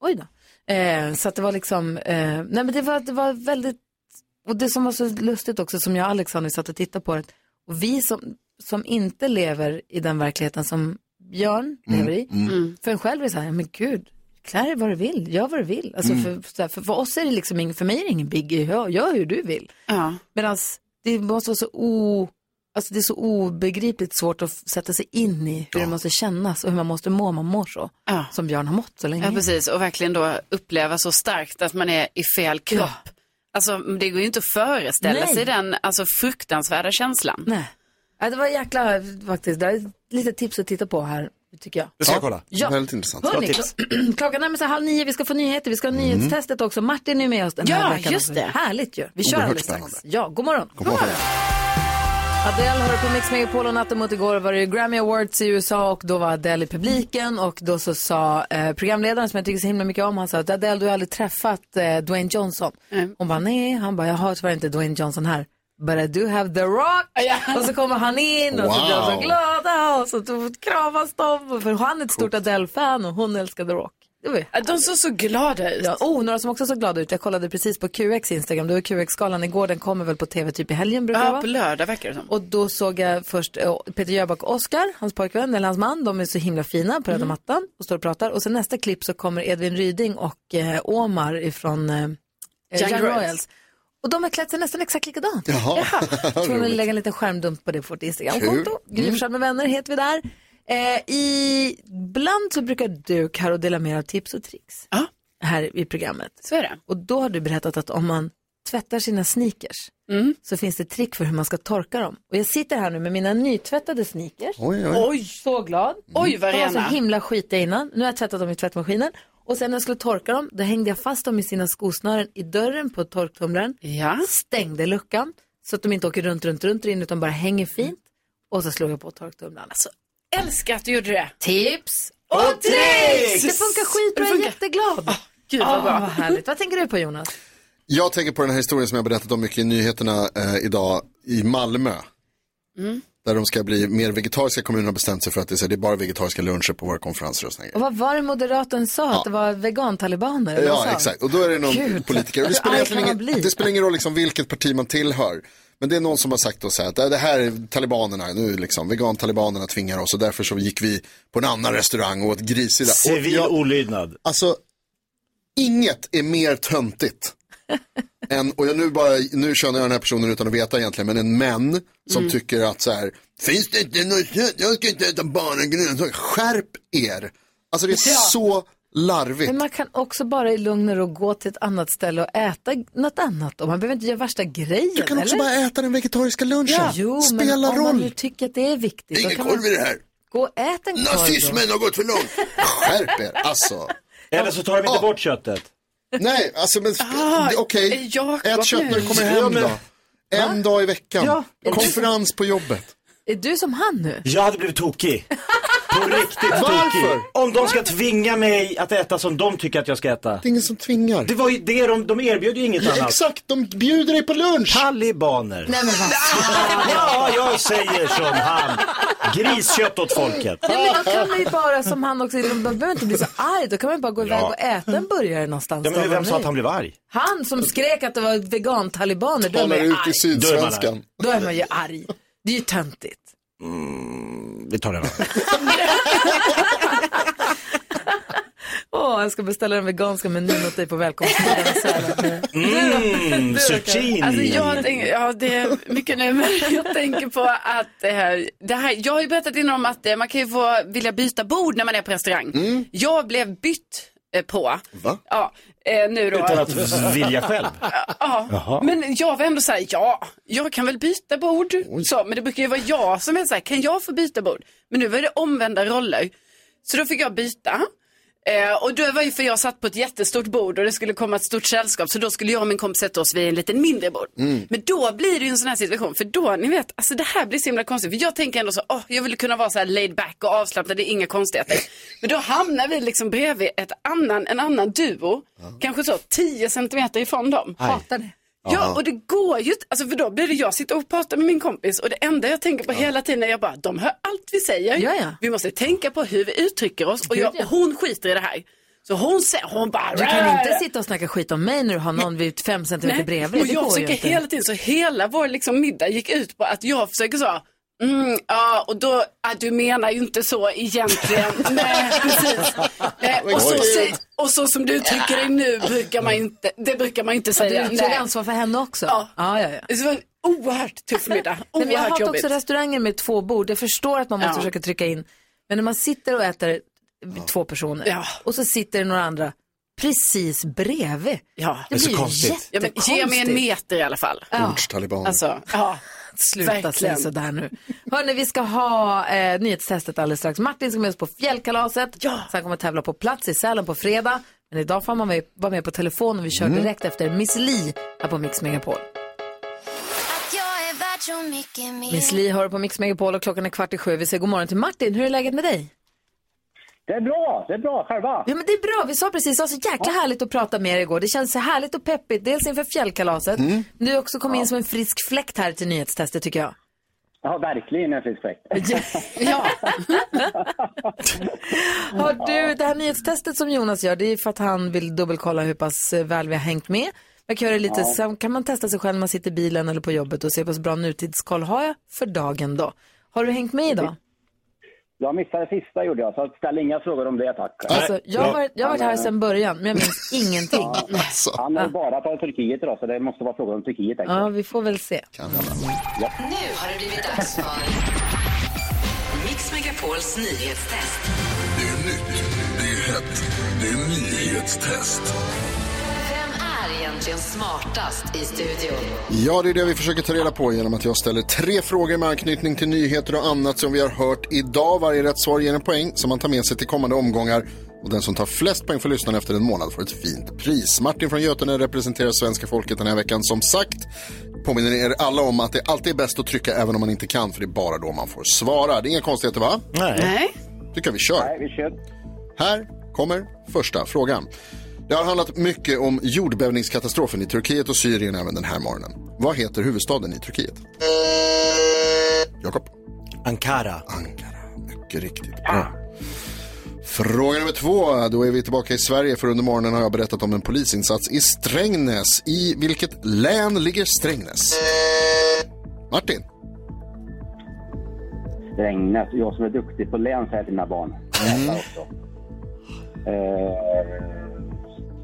S2: Oj då. Eh, så att det var liksom, eh, nej men det var, det var väldigt, och det som var så lustigt också som jag och Alex sa när vi satt och tittade på det, och vi som, som inte
S5: Mm.
S2: lever i den verkligheten som Björn lever i, för en själv är det så här, men gud, klä dig vad du vill, gör vad du vill. Alltså
S5: Mm.
S2: för, så här, för, för oss är det liksom, ing- för mig är det ingen biggie, gör, gör hur du vill.
S5: Ja.
S2: Medan det måste vara så o... Alltså det är så obegripligt svårt att f- sätta sig in i hur det måste kännas och hur man måste må om man mår så. Som Björn har mått så länge.
S5: Ja, precis. Och verkligen då uppleva så starkt att man är i fel kropp. Alltså, det går ju inte att föreställa
S2: Nej.
S5: sig den alltså, fruktansvärda känslan.
S2: Nej. Ja, det var jäkla faktiskt. Det är lite tips att titta på här, tycker jag.
S4: Det
S5: ska jag
S4: kolla.
S2: Ja.
S4: Väldigt intressant. Mm.
S2: Hörni, kl- klockan närmar sig halv nio, vi ska få nyheter, vi ska ha nyhetstestet också. Martin är med oss den
S5: Ja,
S2: här veckan.
S5: just det.
S2: Härligt ju. Vi kör
S5: Oerhört
S2: alldeles strax. Ja, god morgon.
S4: God morgon.
S2: Adele hör på Mix Megapol och natten mot igår var det ju Grammy Awards i USA och då var Adele i publiken och då så sa eh, programledaren som jag tycker så himla mycket om, han sa att Adele du har aldrig träffat eh, Dwayne Johnson. Hon bara nej, han bara jag har tyvärr inte Dwayne Johnson här. But I do have the rock. Och så kommer han in och så blir de så
S5: Wow.
S2: glada och så to- kramas de. För han är ett stort Adele-fan och hon älskar The Rock. Det var ju
S5: De såg så glada ut.
S2: Ja, oh, några som också såg glada ut. Jag kollade precis på QX Instagram. Det var QX-galan igår. Den kommer väl på tv typ i helgen brukar det
S5: Ja,
S2: vara.
S5: på lördag verkar det som.
S2: Och då såg jag först eh, Peter Jöback och Oscar, hans pojkvän, eller hans man. De är så himla fina på röda mattan och står och pratar. Och sen nästa klipp så kommer Edvin Ryding och eh, Omar ifrån eh, Young,
S5: Young
S2: Royals.
S5: Royals.
S2: Och de har klätt sig nästan exakt likadant.
S4: Jaha.
S2: Jag tror hon vill
S4: Roligt.
S2: lägga en liten skärmdump på det på vårt Instagramkonto.
S4: Kul.
S2: Gry Forssell med vänner heter vi där. Eh, ibland så brukar du, Karo, dela med dig av tips och tricks här i programmet.
S5: Så är det.
S2: Och då har du berättat att om man tvättar sina sneakers
S5: Mm.
S2: så finns det trick för hur man ska torka dem. Och jag sitter här nu med mina nytvättade sneakers.
S5: Oj, oj. Oj.
S2: Så glad.
S4: Mm.
S5: Oj, vad
S2: De var så
S5: rena.
S2: himla skitiga innan. Nu har jag tvättat dem i tvättmaskinen. Och sen när jag skulle torka dem, då hängde jag fast dem i sina skosnören i dörren på torktumlaren. Stängde luckan så att de inte åker runt, runt, runt in utan bara hänger fint. Och så slog jag på torktumlaren. Alltså,
S5: Älskar att du gjorde det.
S2: tips
S5: och tricks!
S2: Det funkar skitbra, jag är jätteglad.
S5: gud, vad
S2: Ah,
S5: bra.
S2: vad härligt. Vad tänker du på Jonas?
S4: Jag tänker på den här historien som jag berättat om mycket i nyheterna eh, idag i Malmö.
S2: Mm.
S4: Där de ska bli mer vegetariska kommuner har bestämt sig för att det är, så här, det är bara vegetariska luncher på våra konferenser och såna grejer.
S2: Och vad var det moderaten sa? Att det var vegantalibaner? eller vad
S4: Ja,
S2: sa han?
S4: exakt. Och då är det någon
S2: Gud.
S4: politiker. Och det,
S2: Hur
S4: spelar
S2: arg
S4: egentligen
S2: kan man
S4: ingen,
S2: bli?
S4: det spelar ingen roll liksom vilket parti man tillhör. Men det är någon som har sagt då så här att "Äh, det här är talibanerna, nu liksom, vegan-talibanerna tvingar oss och därför så gick vi på en annan restaurang och åt grissida.
S3: Civil
S4: olydnad. Alltså, inget är mer töntigt än, och jag nu, bara, nu känner jag den här personen utan att veta egentligen, men en män som
S18: Mm.
S4: tycker att så här, finns det inte något kött, jag ska inte äta bara grönsaker, skärp er. Alltså det är
S2: Ja.
S4: så larvigt.
S2: Men man kan också bara i lugn och ro gå till ett annat ställe och äta något annat. Och man behöver inte göra värsta grejen.
S4: Du kan också
S2: eller?
S4: bara äta den vegetariska lunchen.
S2: Ja. Jo, men
S4: Spela
S2: om man
S4: roll.
S2: nu tycker att det är viktigt. då
S4: Ingen
S2: kan
S4: korv
S2: man
S4: i det här.
S2: Gå och ät en korv. då.
S4: Nazismen har gått för långt. Skärp er, alltså.
S3: Eller så tar de inte bort köttet.
S4: Nej, alltså men
S3: Ah,
S2: eh,
S4: okej.
S3: Jakob
S4: Ät kött när du kommer
S3: Ja,
S4: hem
S3: men-
S4: då. En dag i veckan.
S2: Ja.
S4: Konferens på jobbet.
S2: Är du som han nu?
S3: Jag hade blivit tokig. På riktigt tokig.
S4: Varför?
S3: Om de ska tvinga mig att äta som de tycker att jag ska äta.
S4: Det är ingen som tvingar.
S3: Det var ju det de, de erbjöd ju inget
S4: Ja,
S3: annat.
S4: Exakt, de bjuder dig på lunch.
S3: Talibaner.
S2: Nej, men vad
S3: Ja, jag säger som han. Griskött åt folket.
S2: Nej, men då kan man ju bara som han också, man behöver inte bli så arg. Då kan man ju bara gå iväg
S3: Ja.
S2: och äta en burgare någonstans.
S3: Ja,
S2: där
S3: men
S2: man
S3: vem sa
S2: är.
S3: att han blev arg?
S2: Han som skrek att det var vegantalibaner, då är man
S3: Talar
S2: ju
S3: ut i
S2: arg.
S3: Sydsvenskan. Då är man arg.
S2: Då är man ju arg. Det är ju töntigt.
S3: Mm, Vi tar det va?
S2: Åh, jag ska beställa den veganska menyn åt dig på välkomstmiddagen.
S3: Mm,
S5: Du,
S3: zucchini.
S5: Alltså jag tänker, ja det är mycket nu, men jag tänker på att eh, det här, jag har ju berättat innan om att eh, man kan ju få vilja byta bord när man är på restaurang.
S3: Mm.
S5: Jag blev bytt eh, på.
S4: Va?
S5: Ja, eh, nu då.
S3: Utan att vilja själv.
S5: Ja,
S3: Jaha.
S5: men jag var ändå så här, ja, jag kan väl byta bord. Så, men det brukar ju vara jag som är så här, kan jag få byta bord? Men nu var det omvända roller. Så då fick jag byta. Eh, och då var ju för jag satt på ett jättestort bord och det skulle komma ett stort sällskap. Så då skulle jag och min kompis sätta oss vid en liten mindre bord. Mm. Men då blir det ju en sån här situation, för då, ni vet, alltså det här blir så himla konstigt. För jag tänker ändå så, åh, jag vill kunna vara så här laid back och avslappnad, det är inga konstigheter. Men då hamnar vi liksom bredvid ett annan, en annan duo, kanske så 10 centimeter ifrån dem.
S2: Aj. Hatar det.
S5: Ja,
S2: Aha.
S5: och det går ju inte, alltså för då blir det jag sitter och pratar med min kompis och det enda jag tänker på hela tiden är jag bara, de hör allt vi säger.
S2: Ja, ja.
S5: Vi måste tänka på hur vi uttrycker oss och,
S2: Gud,
S5: jag,
S2: ja.
S5: och hon skiter i det här. Så hon säger, hon bara...
S2: Du kan inte sitta och snacka skit om mig när du har någon vid fem centimeter bredvid.
S5: Och
S2: Det
S5: jag
S2: går ju
S5: försöker
S2: inte.
S5: hela tiden, så hela vår liksom middag gick ut på att jag försöker så, Mm, ja, och då, ah, du menar ju inte så egentligen. Nej, precis. Nej, och, så,
S2: Oj.
S5: säg- och så som du uttrycker dig nu brukar man inte, det brukar man inte säga.
S2: Du tog ansvar för henne också. Ja. ja, ja,
S5: Det var en oerhört tuff middag.
S2: Nej, men jag
S5: Oerhört
S2: hatar
S5: jobbigt.
S2: också restauranger med två bord. Jag förstår att man måste
S5: Ja.
S2: försöka trycka in. Men när man sitter och äter eh, två personer
S5: Ja.
S2: och så sitter det några andra precis bredvid.
S5: Ja.
S2: Det blir ju
S5: Ja, men
S2: jättekonstigt.
S5: ge mig en meter i alla fall.
S2: Ja.
S4: Bordstaliban.
S5: Alltså, ja.
S2: Sluta säga
S5: Verkligen.
S2: sådär nu. Hörni, vi ska ha eh, nyhetstestet alldeles strax. Martin ska med oss på fjällkalaset. Ja. Sen kommer tävla på plats i Sälen på fredag. Men idag får man med- vara med på telefon och vi kör
S14: Mm.
S2: direkt efter Miss Li här på Mix Megapol.
S14: Jag är värd så mycket mer.
S2: Miss Li hör på Mix Megapol och klockan är kvart i sju. Vi säger god morgon till Martin. Hur är läget med dig?
S18: Det är bra, det är bra. Själva?
S2: Ja, men det är bra. Vi sa precis, det var så jäkla härligt att prata med er igår. Det känns så härligt och peppigt. Dels inför fjällkalaset.
S18: Mm.
S2: Du också kom in som en frisk fläkt här till nyhetstestet tycker jag.
S18: Ja, verkligen en frisk fläkt. Mm.
S2: Har du, det här nyhetstestet som Jonas gör, det är för att han vill dubbelkolla hur pass eh, väl vi har hängt med. Man kan göra det lite,
S18: Ja.
S2: sen kan man testa sig själv när man sitter i bilen eller på jobbet och se hur pass bra nutidskoll har jag för dagen då. Har du hängt med
S18: Mm.
S2: idag?
S18: Jag missade sista gjorde jag, så ställ inga frågor om det tack.
S2: Alltså, jag har varit, jag har varit här sedan början, men jag minns ingenting.
S18: Han har bara tagit Turkiet idag, så det måste vara frågor om Turkiet. tänker jag.
S2: Ja, vi får väl se.
S18: Ja.
S1: Nu har det blivit dags för Mix Megapols nyhetstest.
S19: Det är nytt, det är hett, det är nyhetstest.
S1: Vem är egentligen smartast i studion?
S4: Ja, det är det vi försöker ta reda på genom att jag ställer tre frågor med anknytning till nyheter och annat som vi har hört idag. Varje rätt svar ger en poäng som man tar med sig till kommande omgångar. Och den som tar flest poäng för lyssnarna efter en månad får ett fint pris. Martin från Götene representerar svenska folket den här veckan som sagt. Påminner er alla om att det alltid är bäst att trycka även om man inte kan, för det är bara då man får svara. Det är inga konstigheter va?
S5: Nej.
S4: tycker jag vi kör.
S18: Nej, vi kör.
S4: Här kommer första frågan. Det har handlat mycket om jordbävningskatastrofen i Turkiet och Syrien även den här morgonen. Vad heter huvudstaden i Turkiet? Jakob?
S3: Ankara.
S4: Ankara, mycket riktigt bra. Fråga nummer två, då är vi tillbaka i Sverige för under morgonen har jag berättat om en polisinsats i Strängnäs. I vilket län ligger Strängnäs? Martin?
S18: Strängnäs, jag som är duktig på län säger jag till mina barn. Mm. Också. Eh,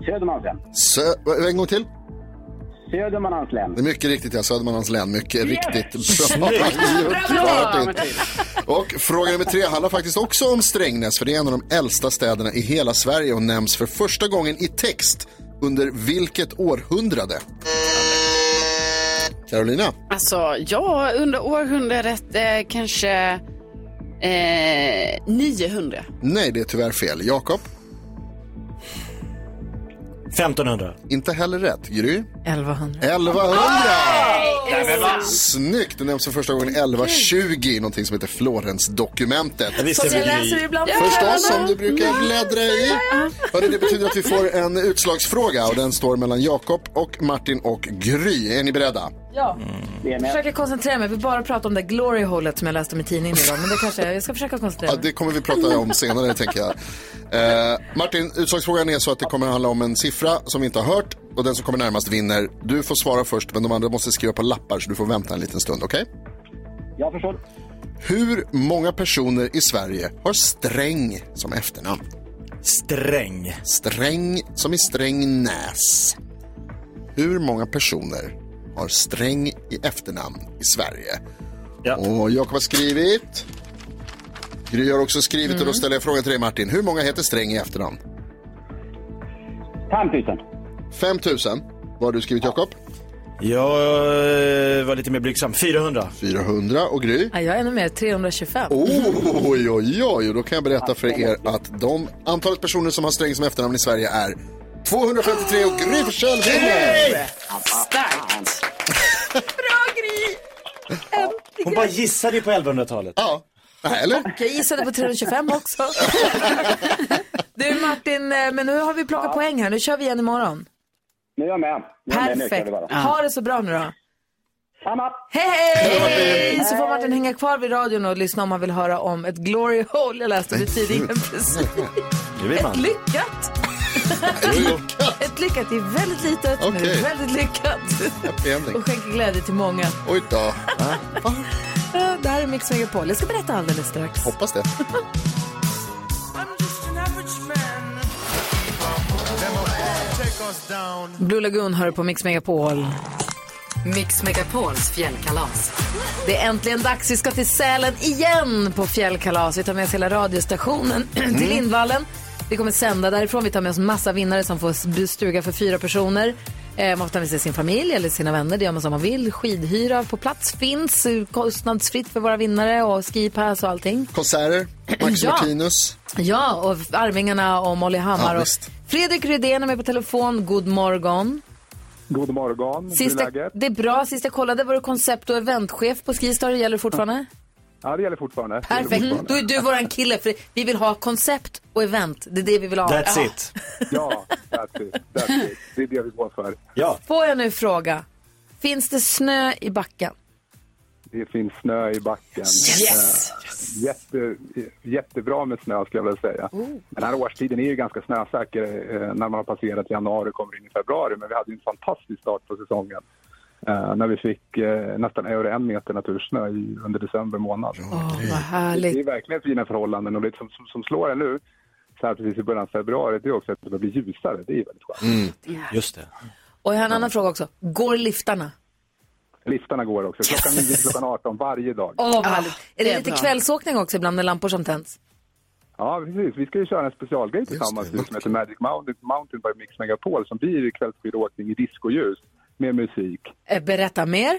S18: Södermanlands län.
S4: Sö en gång till?
S18: Södermanlands län.
S4: Det är mycket riktigt, ja. Södermanlands län. Mycket riktigt bra.
S18: Snyggt! Bra,
S4: Martin.
S18: Martin.
S4: Och fråga nummer tre handlar faktiskt också om Strängnäs, för det är en av de äldsta städerna i hela Sverige och nämns för första gången i text under vilket århundrade? Carolina?
S5: Alltså, ja, under århundradet eh, kanske eh, 900.
S4: Nej, det är tyvärr fel. Jakob?
S3: 1500.
S4: Inte heller rätt. Gry?
S2: 1100.
S4: 1100!
S2: Nej, är det Nej, men sant? va?
S4: Snyggt! Det nämns för första gången 1120 i någonting som heter Florensdokumentet.
S2: Som jag läser ibland.
S4: Förstås, som du brukar bläddra i. Hörrni, det betyder att vi får en utslagsfråga och den står mellan Jakob och Martin och Gry. Är ni beredda?
S2: Ja.
S18: Det är
S2: Jag försöker koncentrera mig. Vi bara pratar om det glory holet som jag läste om i tidningen idag. Men det kanske jag, jag ska försöka koncentrera
S4: Ja,
S2: mig.
S4: det kommer vi prata om senare, tänker jag. Eh, Martin, utslagsfrågan är så att det kommer handla om en siffra som vi inte har hört och den som kommer närmast vinner. Du får svara först, men de andra måste skriva på lappar så du får vänta en liten stund, okej?
S18: Jag förstår.
S4: Hur många personer i Sverige har Sträng som efternamn?
S3: Sträng.
S4: Sträng som i Strängnäs. Hur många personer har Sträng i efternamn i Sverige? Och Jakob har skrivit. Gry har också skrivit
S3: Mm.
S4: och då ställer jag frågan till dig Martin. Hur många heter Sträng i efternamn?
S18: 5000.
S4: 5000. Vad har du skrivit Jakob?
S3: Jag eh, var lite mer blygsam. 400.
S4: 400 och Gry?
S2: Ja, jag är ännu mer, 325.
S18: Oh.
S4: Oj, oj, oj. Och då kan jag berätta för er att de antalet personer som har Sträng som efternamn i Sverige är 253 och Gry Forssell vinner!
S5: Starkt!
S3: Hon bara gissade ju på 1100-talet.
S4: Ja. Eller?
S2: Jag gissade på 325 också. du Martin, eh, men nu har vi plockat poäng här. Nu kör vi igen imorgon.
S18: Nu är jag med. Nu är jag med. Nu kör
S2: Perfekt.
S18: vi bara.
S2: Ha det så bra nu då.
S18: Samma.
S2: Hej!
S18: Hej!
S2: Så får Martin hänga kvar vid radion och lyssna om han vill höra om ett glory hole. Jag läste det i tidningen precis.
S3: Det
S2: Ett lyckat! ett lyckat är väldigt litet, men det
S4: Okej.
S2: är väldigt lyckat.
S4: Happy ending.
S2: Och skänker glädje till många.
S4: Oj då.
S2: Där Det här är Mix Megapol. Jag ska berätta alldeles strax.
S4: Hoppas det.
S2: Blue Lagoon hör på Mix Megapol.
S1: Mix Megapols fjällkalas.
S2: Det är äntligen dags. Vi ska till Sälen igen på fjällkalas. Vi tar med oss hela radiostationen
S4: Mm.
S2: till Lindvallen. Vi kommer sända därifrån. Vi tar med oss massa vinnare som får stuga för fyra personer. Eh, Man får ta med sig sin familj eller sina vänner. Det gör man som man vill. Skidhyra på plats finns eh, kostnadsfritt för våra vinnare och skipass och allting.
S4: Konserter, Max
S2: Ja.
S4: Martinus.
S2: Ja, och Arvingarna och Molly Hammar.
S4: Ja,
S2: och
S4: visst.
S2: Fredrik Rydén är med på telefon. God morgon.
S20: God morgon. Hur
S2: Sista,
S20: är läget?
S2: det är bra. Sist jag kollade var du koncept och eventchef på Skistar. Det gäller fortfarande?
S20: Ja, det gäller fortfarande.
S2: Perfekt. Då är du våran kille. För vi vill ha koncept och event. Det är det vi vill ha. Ja.
S20: it. Ja, that's it. That's it. Det är det vi går för.
S3: Ja.
S2: Får jag nu fråga. Finns det snö i backen?
S20: Det finns snö i backen.
S2: Yes!
S20: Eh, Jätte, jättebra med snö skulle jag vilja säga. Den här årstiden är ju ganska snösäker eh, när man har passerat januari och kommer in i februari. Men vi hade ju en fantastisk start på säsongen. eh, När vi fick eh, nästan över en meter natursnö i, under december månad.
S2: Vad härligt.
S20: Det är verkligen fina förhållanden och det som, som, som slår en nu så här precis i början av februari det är också att det börjar bli ljusare. Det är ju väldigt skönt.
S3: Mm, Just det.
S2: Och jag har en annan fråga också. Går liftarna?
S20: Liftarna går också. Klockan 9 till klockan 18 varje dag.
S2: Åh, vad härligt.
S20: det
S2: Är det
S20: är
S2: lite
S20: bra.
S2: kvällsåkning också ibland när lampor som tänds?
S20: Ja, precis. Vi ska ju köra en specialgrej tillsammans nu som heter Magic Mountain, Mountain by Mix Megapol som blir kvällsskidåkning i discoljus med musik.
S2: Eh, Berätta mer.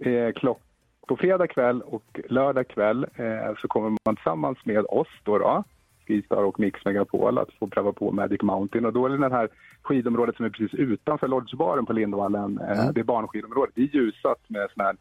S20: Eh, klock på fredag kväll och lördag kväll eh, så kommer man tillsammans med oss då, då Skistar och Mix Megapol att få pröva på Magic Mountain och då är det den här skidområdet som är precis utanför lodgebaren på Lindvallen. Eh, Det är barnskidområdet. Det är ljusat med sån här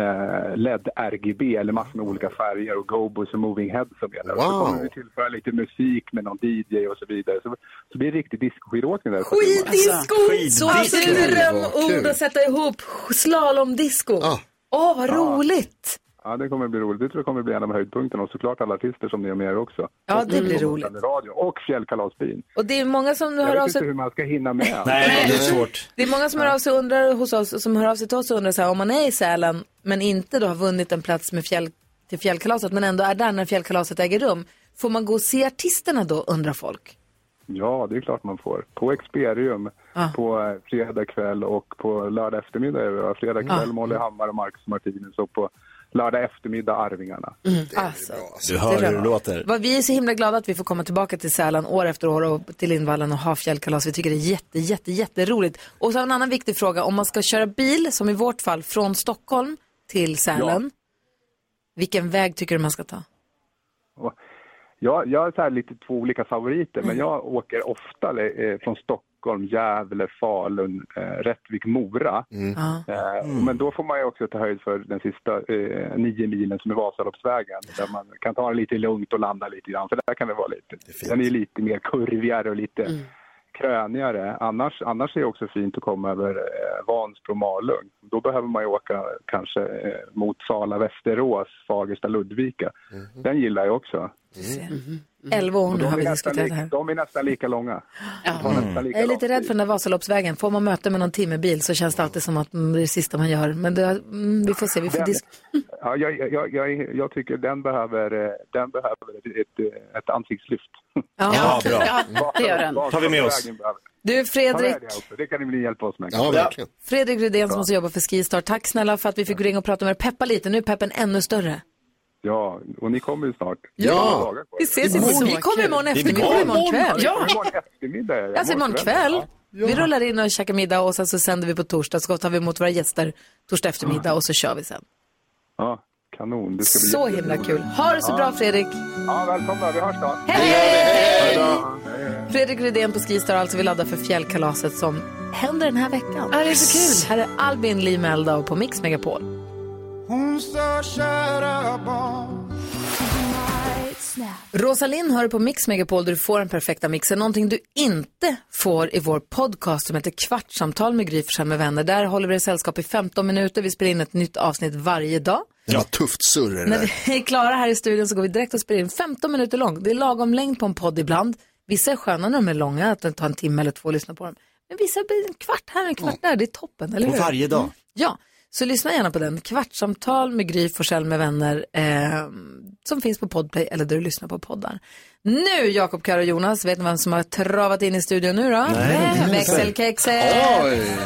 S20: eh, LED-RGB eller massor med olika färger och gobos och moving heads som är där. Och så
S4: Wow.
S20: kommer vi tillföra lite musik med någon DJ och så vidare. Så, så blir det riktig discoskidåkning där.
S2: Skidisco! Så hade du
S20: Vad
S2: drömord
S20: Alltså, kul.
S2: att sätta ihop. Slalomdisco. Åh, vad
S20: Ja.
S2: roligt.
S20: Ja, det kommer bli roligt. Det tror jag kommer bli en av höjdpunkterna och såklart alla artister som ni har med er också.
S2: Ja, det
S20: Och
S2: blir
S20: som
S2: roligt.
S20: sänder Radio och fjällkalasbyn.
S2: Och det är många som
S20: Jag
S2: hör
S20: vet
S2: av
S20: inte
S2: sig.
S20: hur man ska hinna med.
S2: Nej,
S3: det är svårt.
S2: Det är många som hör av sig och undrar hos oss, som hör av sig till oss och undrar så här, om man är i Sälen men inte då har vunnit en plats med fjäll, till fjällkalaset men ändå är där när fjällkalaset äger rum. Får man gå och se artisterna då undrar folk?
S20: Ja, det är klart man får. På Experium
S2: Ah.
S20: på eh, fredag kväll och på lördag eftermiddag är det va? Fredag kväll
S2: Ah.
S20: Molly Hammar och Marcus Martinus och på lördag eftermiddag Arvingarna.
S2: Alltså,
S3: Du hör hur det
S20: bra.
S3: låter.
S2: vad vi är så himla glada att vi får komma tillbaka till Sälen år efter år och till Lindvallen och ha fjällkalas. Vi tycker det är jätte, jätte, jätteroligt. Och så en annan viktig fråga, om man ska köra bil, som i vårt fall, från Stockholm till Sälen, vilken väg tycker du man ska
S3: Mm.
S2: ta?
S20: Jag, jag har så här lite två olika favoriter, men jag åker ofta eh, från Stockholm, Gävle, Falun, eh, Rättvik, Mora. Eh, Men då får man ju också ta höjd för den sista eh, nio milen som är Vasaloppsvägen, där man kan ta det lite lugnt och landa lite grann, för där kan det vara lite. den är ju lite mer kurvigare och lite krönigare. Annars, annars är det också fint att komma över eh, Vansbro, Malung. Då behöver man ju åka kanske eh, mot Sala, Västerås, Fagersta, Ludvika. Den gillar jag också.
S2: Elva år
S20: Och
S2: nu
S20: de
S2: har
S20: är
S2: vi
S20: nästan
S2: diskuterat det här.
S20: li- De är nästan lika långa. De tar nästan lika
S2: Mm. Jag är
S20: lång
S2: lite rädd för den där Vasaloppsvägen. Får man möte med någon timmerbil så känns det alltid som att mm, det är det sista man gör. Men det, mm, vi får se. Vi får
S20: Den-
S2: disk...
S20: Ja, jag, jag- jag, jag, jag tycker den behöver, eh, den behöver ett, ett, eh, ett ansiktslyft.
S2: Ja,
S3: Ja, bra.
S2: det gör den.
S3: Tar vi med oss.
S2: Du Fredrik,
S20: Ta med det, också. det kan ni hjälpa oss med.
S3: Ja, verkligen.
S2: Fredrik Rydén som också jobbar för Skistar. Tack snälla för att vi fick ringa och prata med dig. Peppa lite, nu är peppen ännu större.
S20: Ja, och ni kommer ju snart.
S2: Ja.
S20: Några dagar kvar.
S2: Vi ses imorgon. Vi kommer imorgon efter, vi kommer imorgon kväll.
S20: Ja. Imorgon eftermiddag. ja.
S2: Alltså imorgon kväll.
S20: Ja.
S2: Vi rullar in och käkar middag och sen så sänder vi på torsdag. Så tar vi emot våra gäster torsdag eftermiddag och så kör vi sen.
S20: Ja, kanon. Det ska bli
S2: Så
S20: jätteroligt.
S2: himla kul. Ha det så
S20: Ja.
S2: bra Fredrik.
S20: Ja, välkomna. Vi hörs snart.
S2: Hej! Fredrik Rydén på Skistar alltså vi laddar för fjällkalaset som händer den här veckan. Ja, det är så kul. Här är Albin Lee Meldau på Mix Megapol.
S19: Hon sa kära barn
S2: Rosalind hör på Mix Megapol där du får den perfekta mixen. Någonting du inte får i vår podcast som heter Kvartsamtal med Gry Forssell med vänner. Där håller vi dig sällskap i 15 minuter. Vi spelar in ett nytt avsnitt varje dag.
S4: Det var tufft surr det
S2: När
S4: där.
S2: vi är klara här i studion så går vi direkt och spelar in 15 minuter lång. Det är lagom längd på en podd ibland. Vissa är sköna när de är långa, att det tar en timme eller två att lyssna på dem. Men vissa blir en kvart här, en kvart där. Det är toppen, eller
S3: På
S2: hur? Mm.
S3: varje dag.
S2: Ja, Så lyssna gärna på den. Kvartsamtal med Gry Forssell med vänner eh, som finns på Podplay eller där du lyssnar på poddar. Nu Jakob, Karo och Jonas, vet ni vem som har travat in i studion nu då?
S4: Nej.
S2: Vem? Växelkexet!
S4: Oj!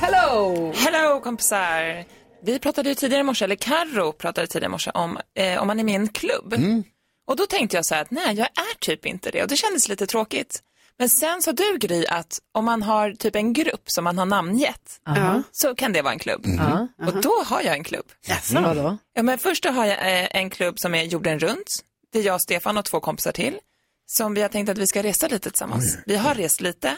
S2: Hello!
S21: Hello kompisar! Vi pratade ju tidigare i morse, eller Carro pratade tidigare i morse om eh, om man är med i en klubb. Och då tänkte jag så här att nej, jag är typ inte det och det kändes lite tråkigt. Men sen sa du Gry att om man har typ en grupp som man har namngett
S2: Aha.
S21: så kan det vara en klubb.
S2: Ja.
S21: Och då har jag en klubb.
S2: Jaså? Mm. Vadå?
S21: Ja, men först då har jag eh, en klubb som är jorden runt. Det är jag, Stefan och två kompisar till. Som vi har tänkt att vi ska resa lite tillsammans.
S2: Oj.
S21: Vi har rest lite,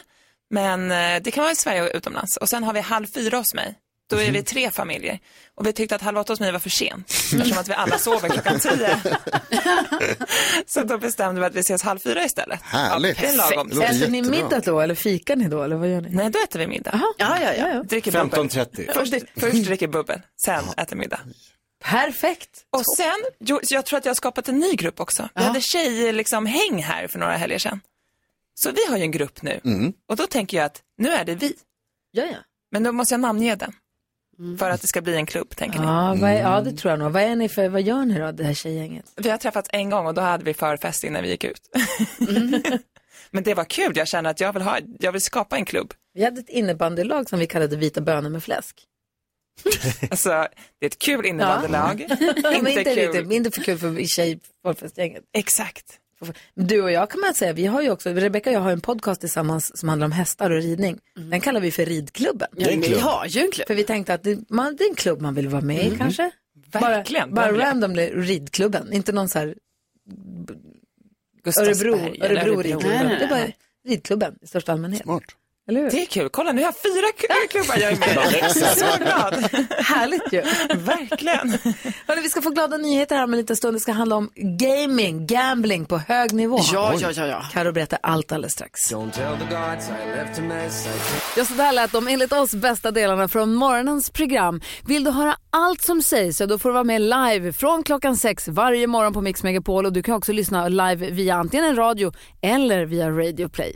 S21: men eh, det kan vara i Sverige och utomlands. Och sen har vi halv fyra hos mig. Då är
S2: Mhm.
S21: vi tre familjer. Och vi tyckte att halv åtta hos mig var för sent. Eftersom att vi alla sover klockan tio. Så då bestämde vi att vi ses halv fyra istället.
S4: Härligt.
S21: Ja, det är lagom.
S2: Äter ni middag då eller fikar ni då eller vad gör ni?
S21: Nej, då äter vi middag.
S2: Ja, ja, ja.
S21: Dricker bubbel.
S3: 15.30.
S21: Först, först dricker bubbel, sen äter middag.
S2: Perfekt.
S21: Och sen, jo, jag tror att jag har skapat en ny grupp också. Vi hade tjej, liksom, häng här för några helger sedan. Så vi har ju en grupp nu. Och då tänker jag att nu är det vi.
S2: Ja, ja.
S21: Men då måste jag namnge den. För att det ska bli en klubb, tänker ni. Mm.
S2: Ja, vad är, ja, det tror jag nog. Vad, är ni för, vad gör ni då, det här tjejgänget?
S21: Vi har träffats en gång och då hade vi förfest innan vi gick ut.
S2: Mm.
S21: Men det var kul, jag känner att jag vill, ha, jag vill skapa en klubb.
S2: Vi hade ett innebandylag som vi kallade Vita bönor med fläsk.
S21: Alltså, det är ett kul innebandylag.
S2: Ja, men inte,
S21: kul.
S2: riktigt, inte för kul för tjejfolkfestgänget.
S21: Exakt.
S2: Du och jag kan man säga, vi har ju också, Rebecca och jag har en podcast tillsammans som handlar om hästar och ridning. Den kallar vi för Ridklubben.
S5: Ja, Det är en vi klubb. har ju en klubb.
S2: För vi tänkte att det, man, det är en klubb man vill vara med i
S5: Mm.
S2: kanske.
S21: Verkligen,
S2: Bara,
S21: nämligen.
S2: bara randomly Ridklubben, inte någon så här b-
S21: Gustavsberg
S2: Örebro,
S21: eller
S2: Örebro,
S21: Örebro.
S2: Ridklubben.
S21: Nej, nej,
S2: Det är bara
S21: nej.
S2: Ridklubben i största allmänhet. Smart. Eller hur?
S21: Det är kul, kolla nu har jag fyra k- klubbar jag är med i. Så glad.
S2: Härligt ju.
S21: Verkligen.
S2: Hörrni, vi ska få glada nyheter här om en liten stund. Det ska handla om gaming, gambling på hög nivå.
S5: Ja, ja, ja, ja.
S2: Karo berättar allt alldeles strax.
S22: Don't tell the gods I left a mess. I can't-
S2: Ja, så där lät de enligt oss bästa delarna från morgonens program. Vill du höra allt som sägs så då får du vara med live från klockan sex varje morgon på Mix Megapol och du kan också lyssna live via antingen en radio eller via Radio Play.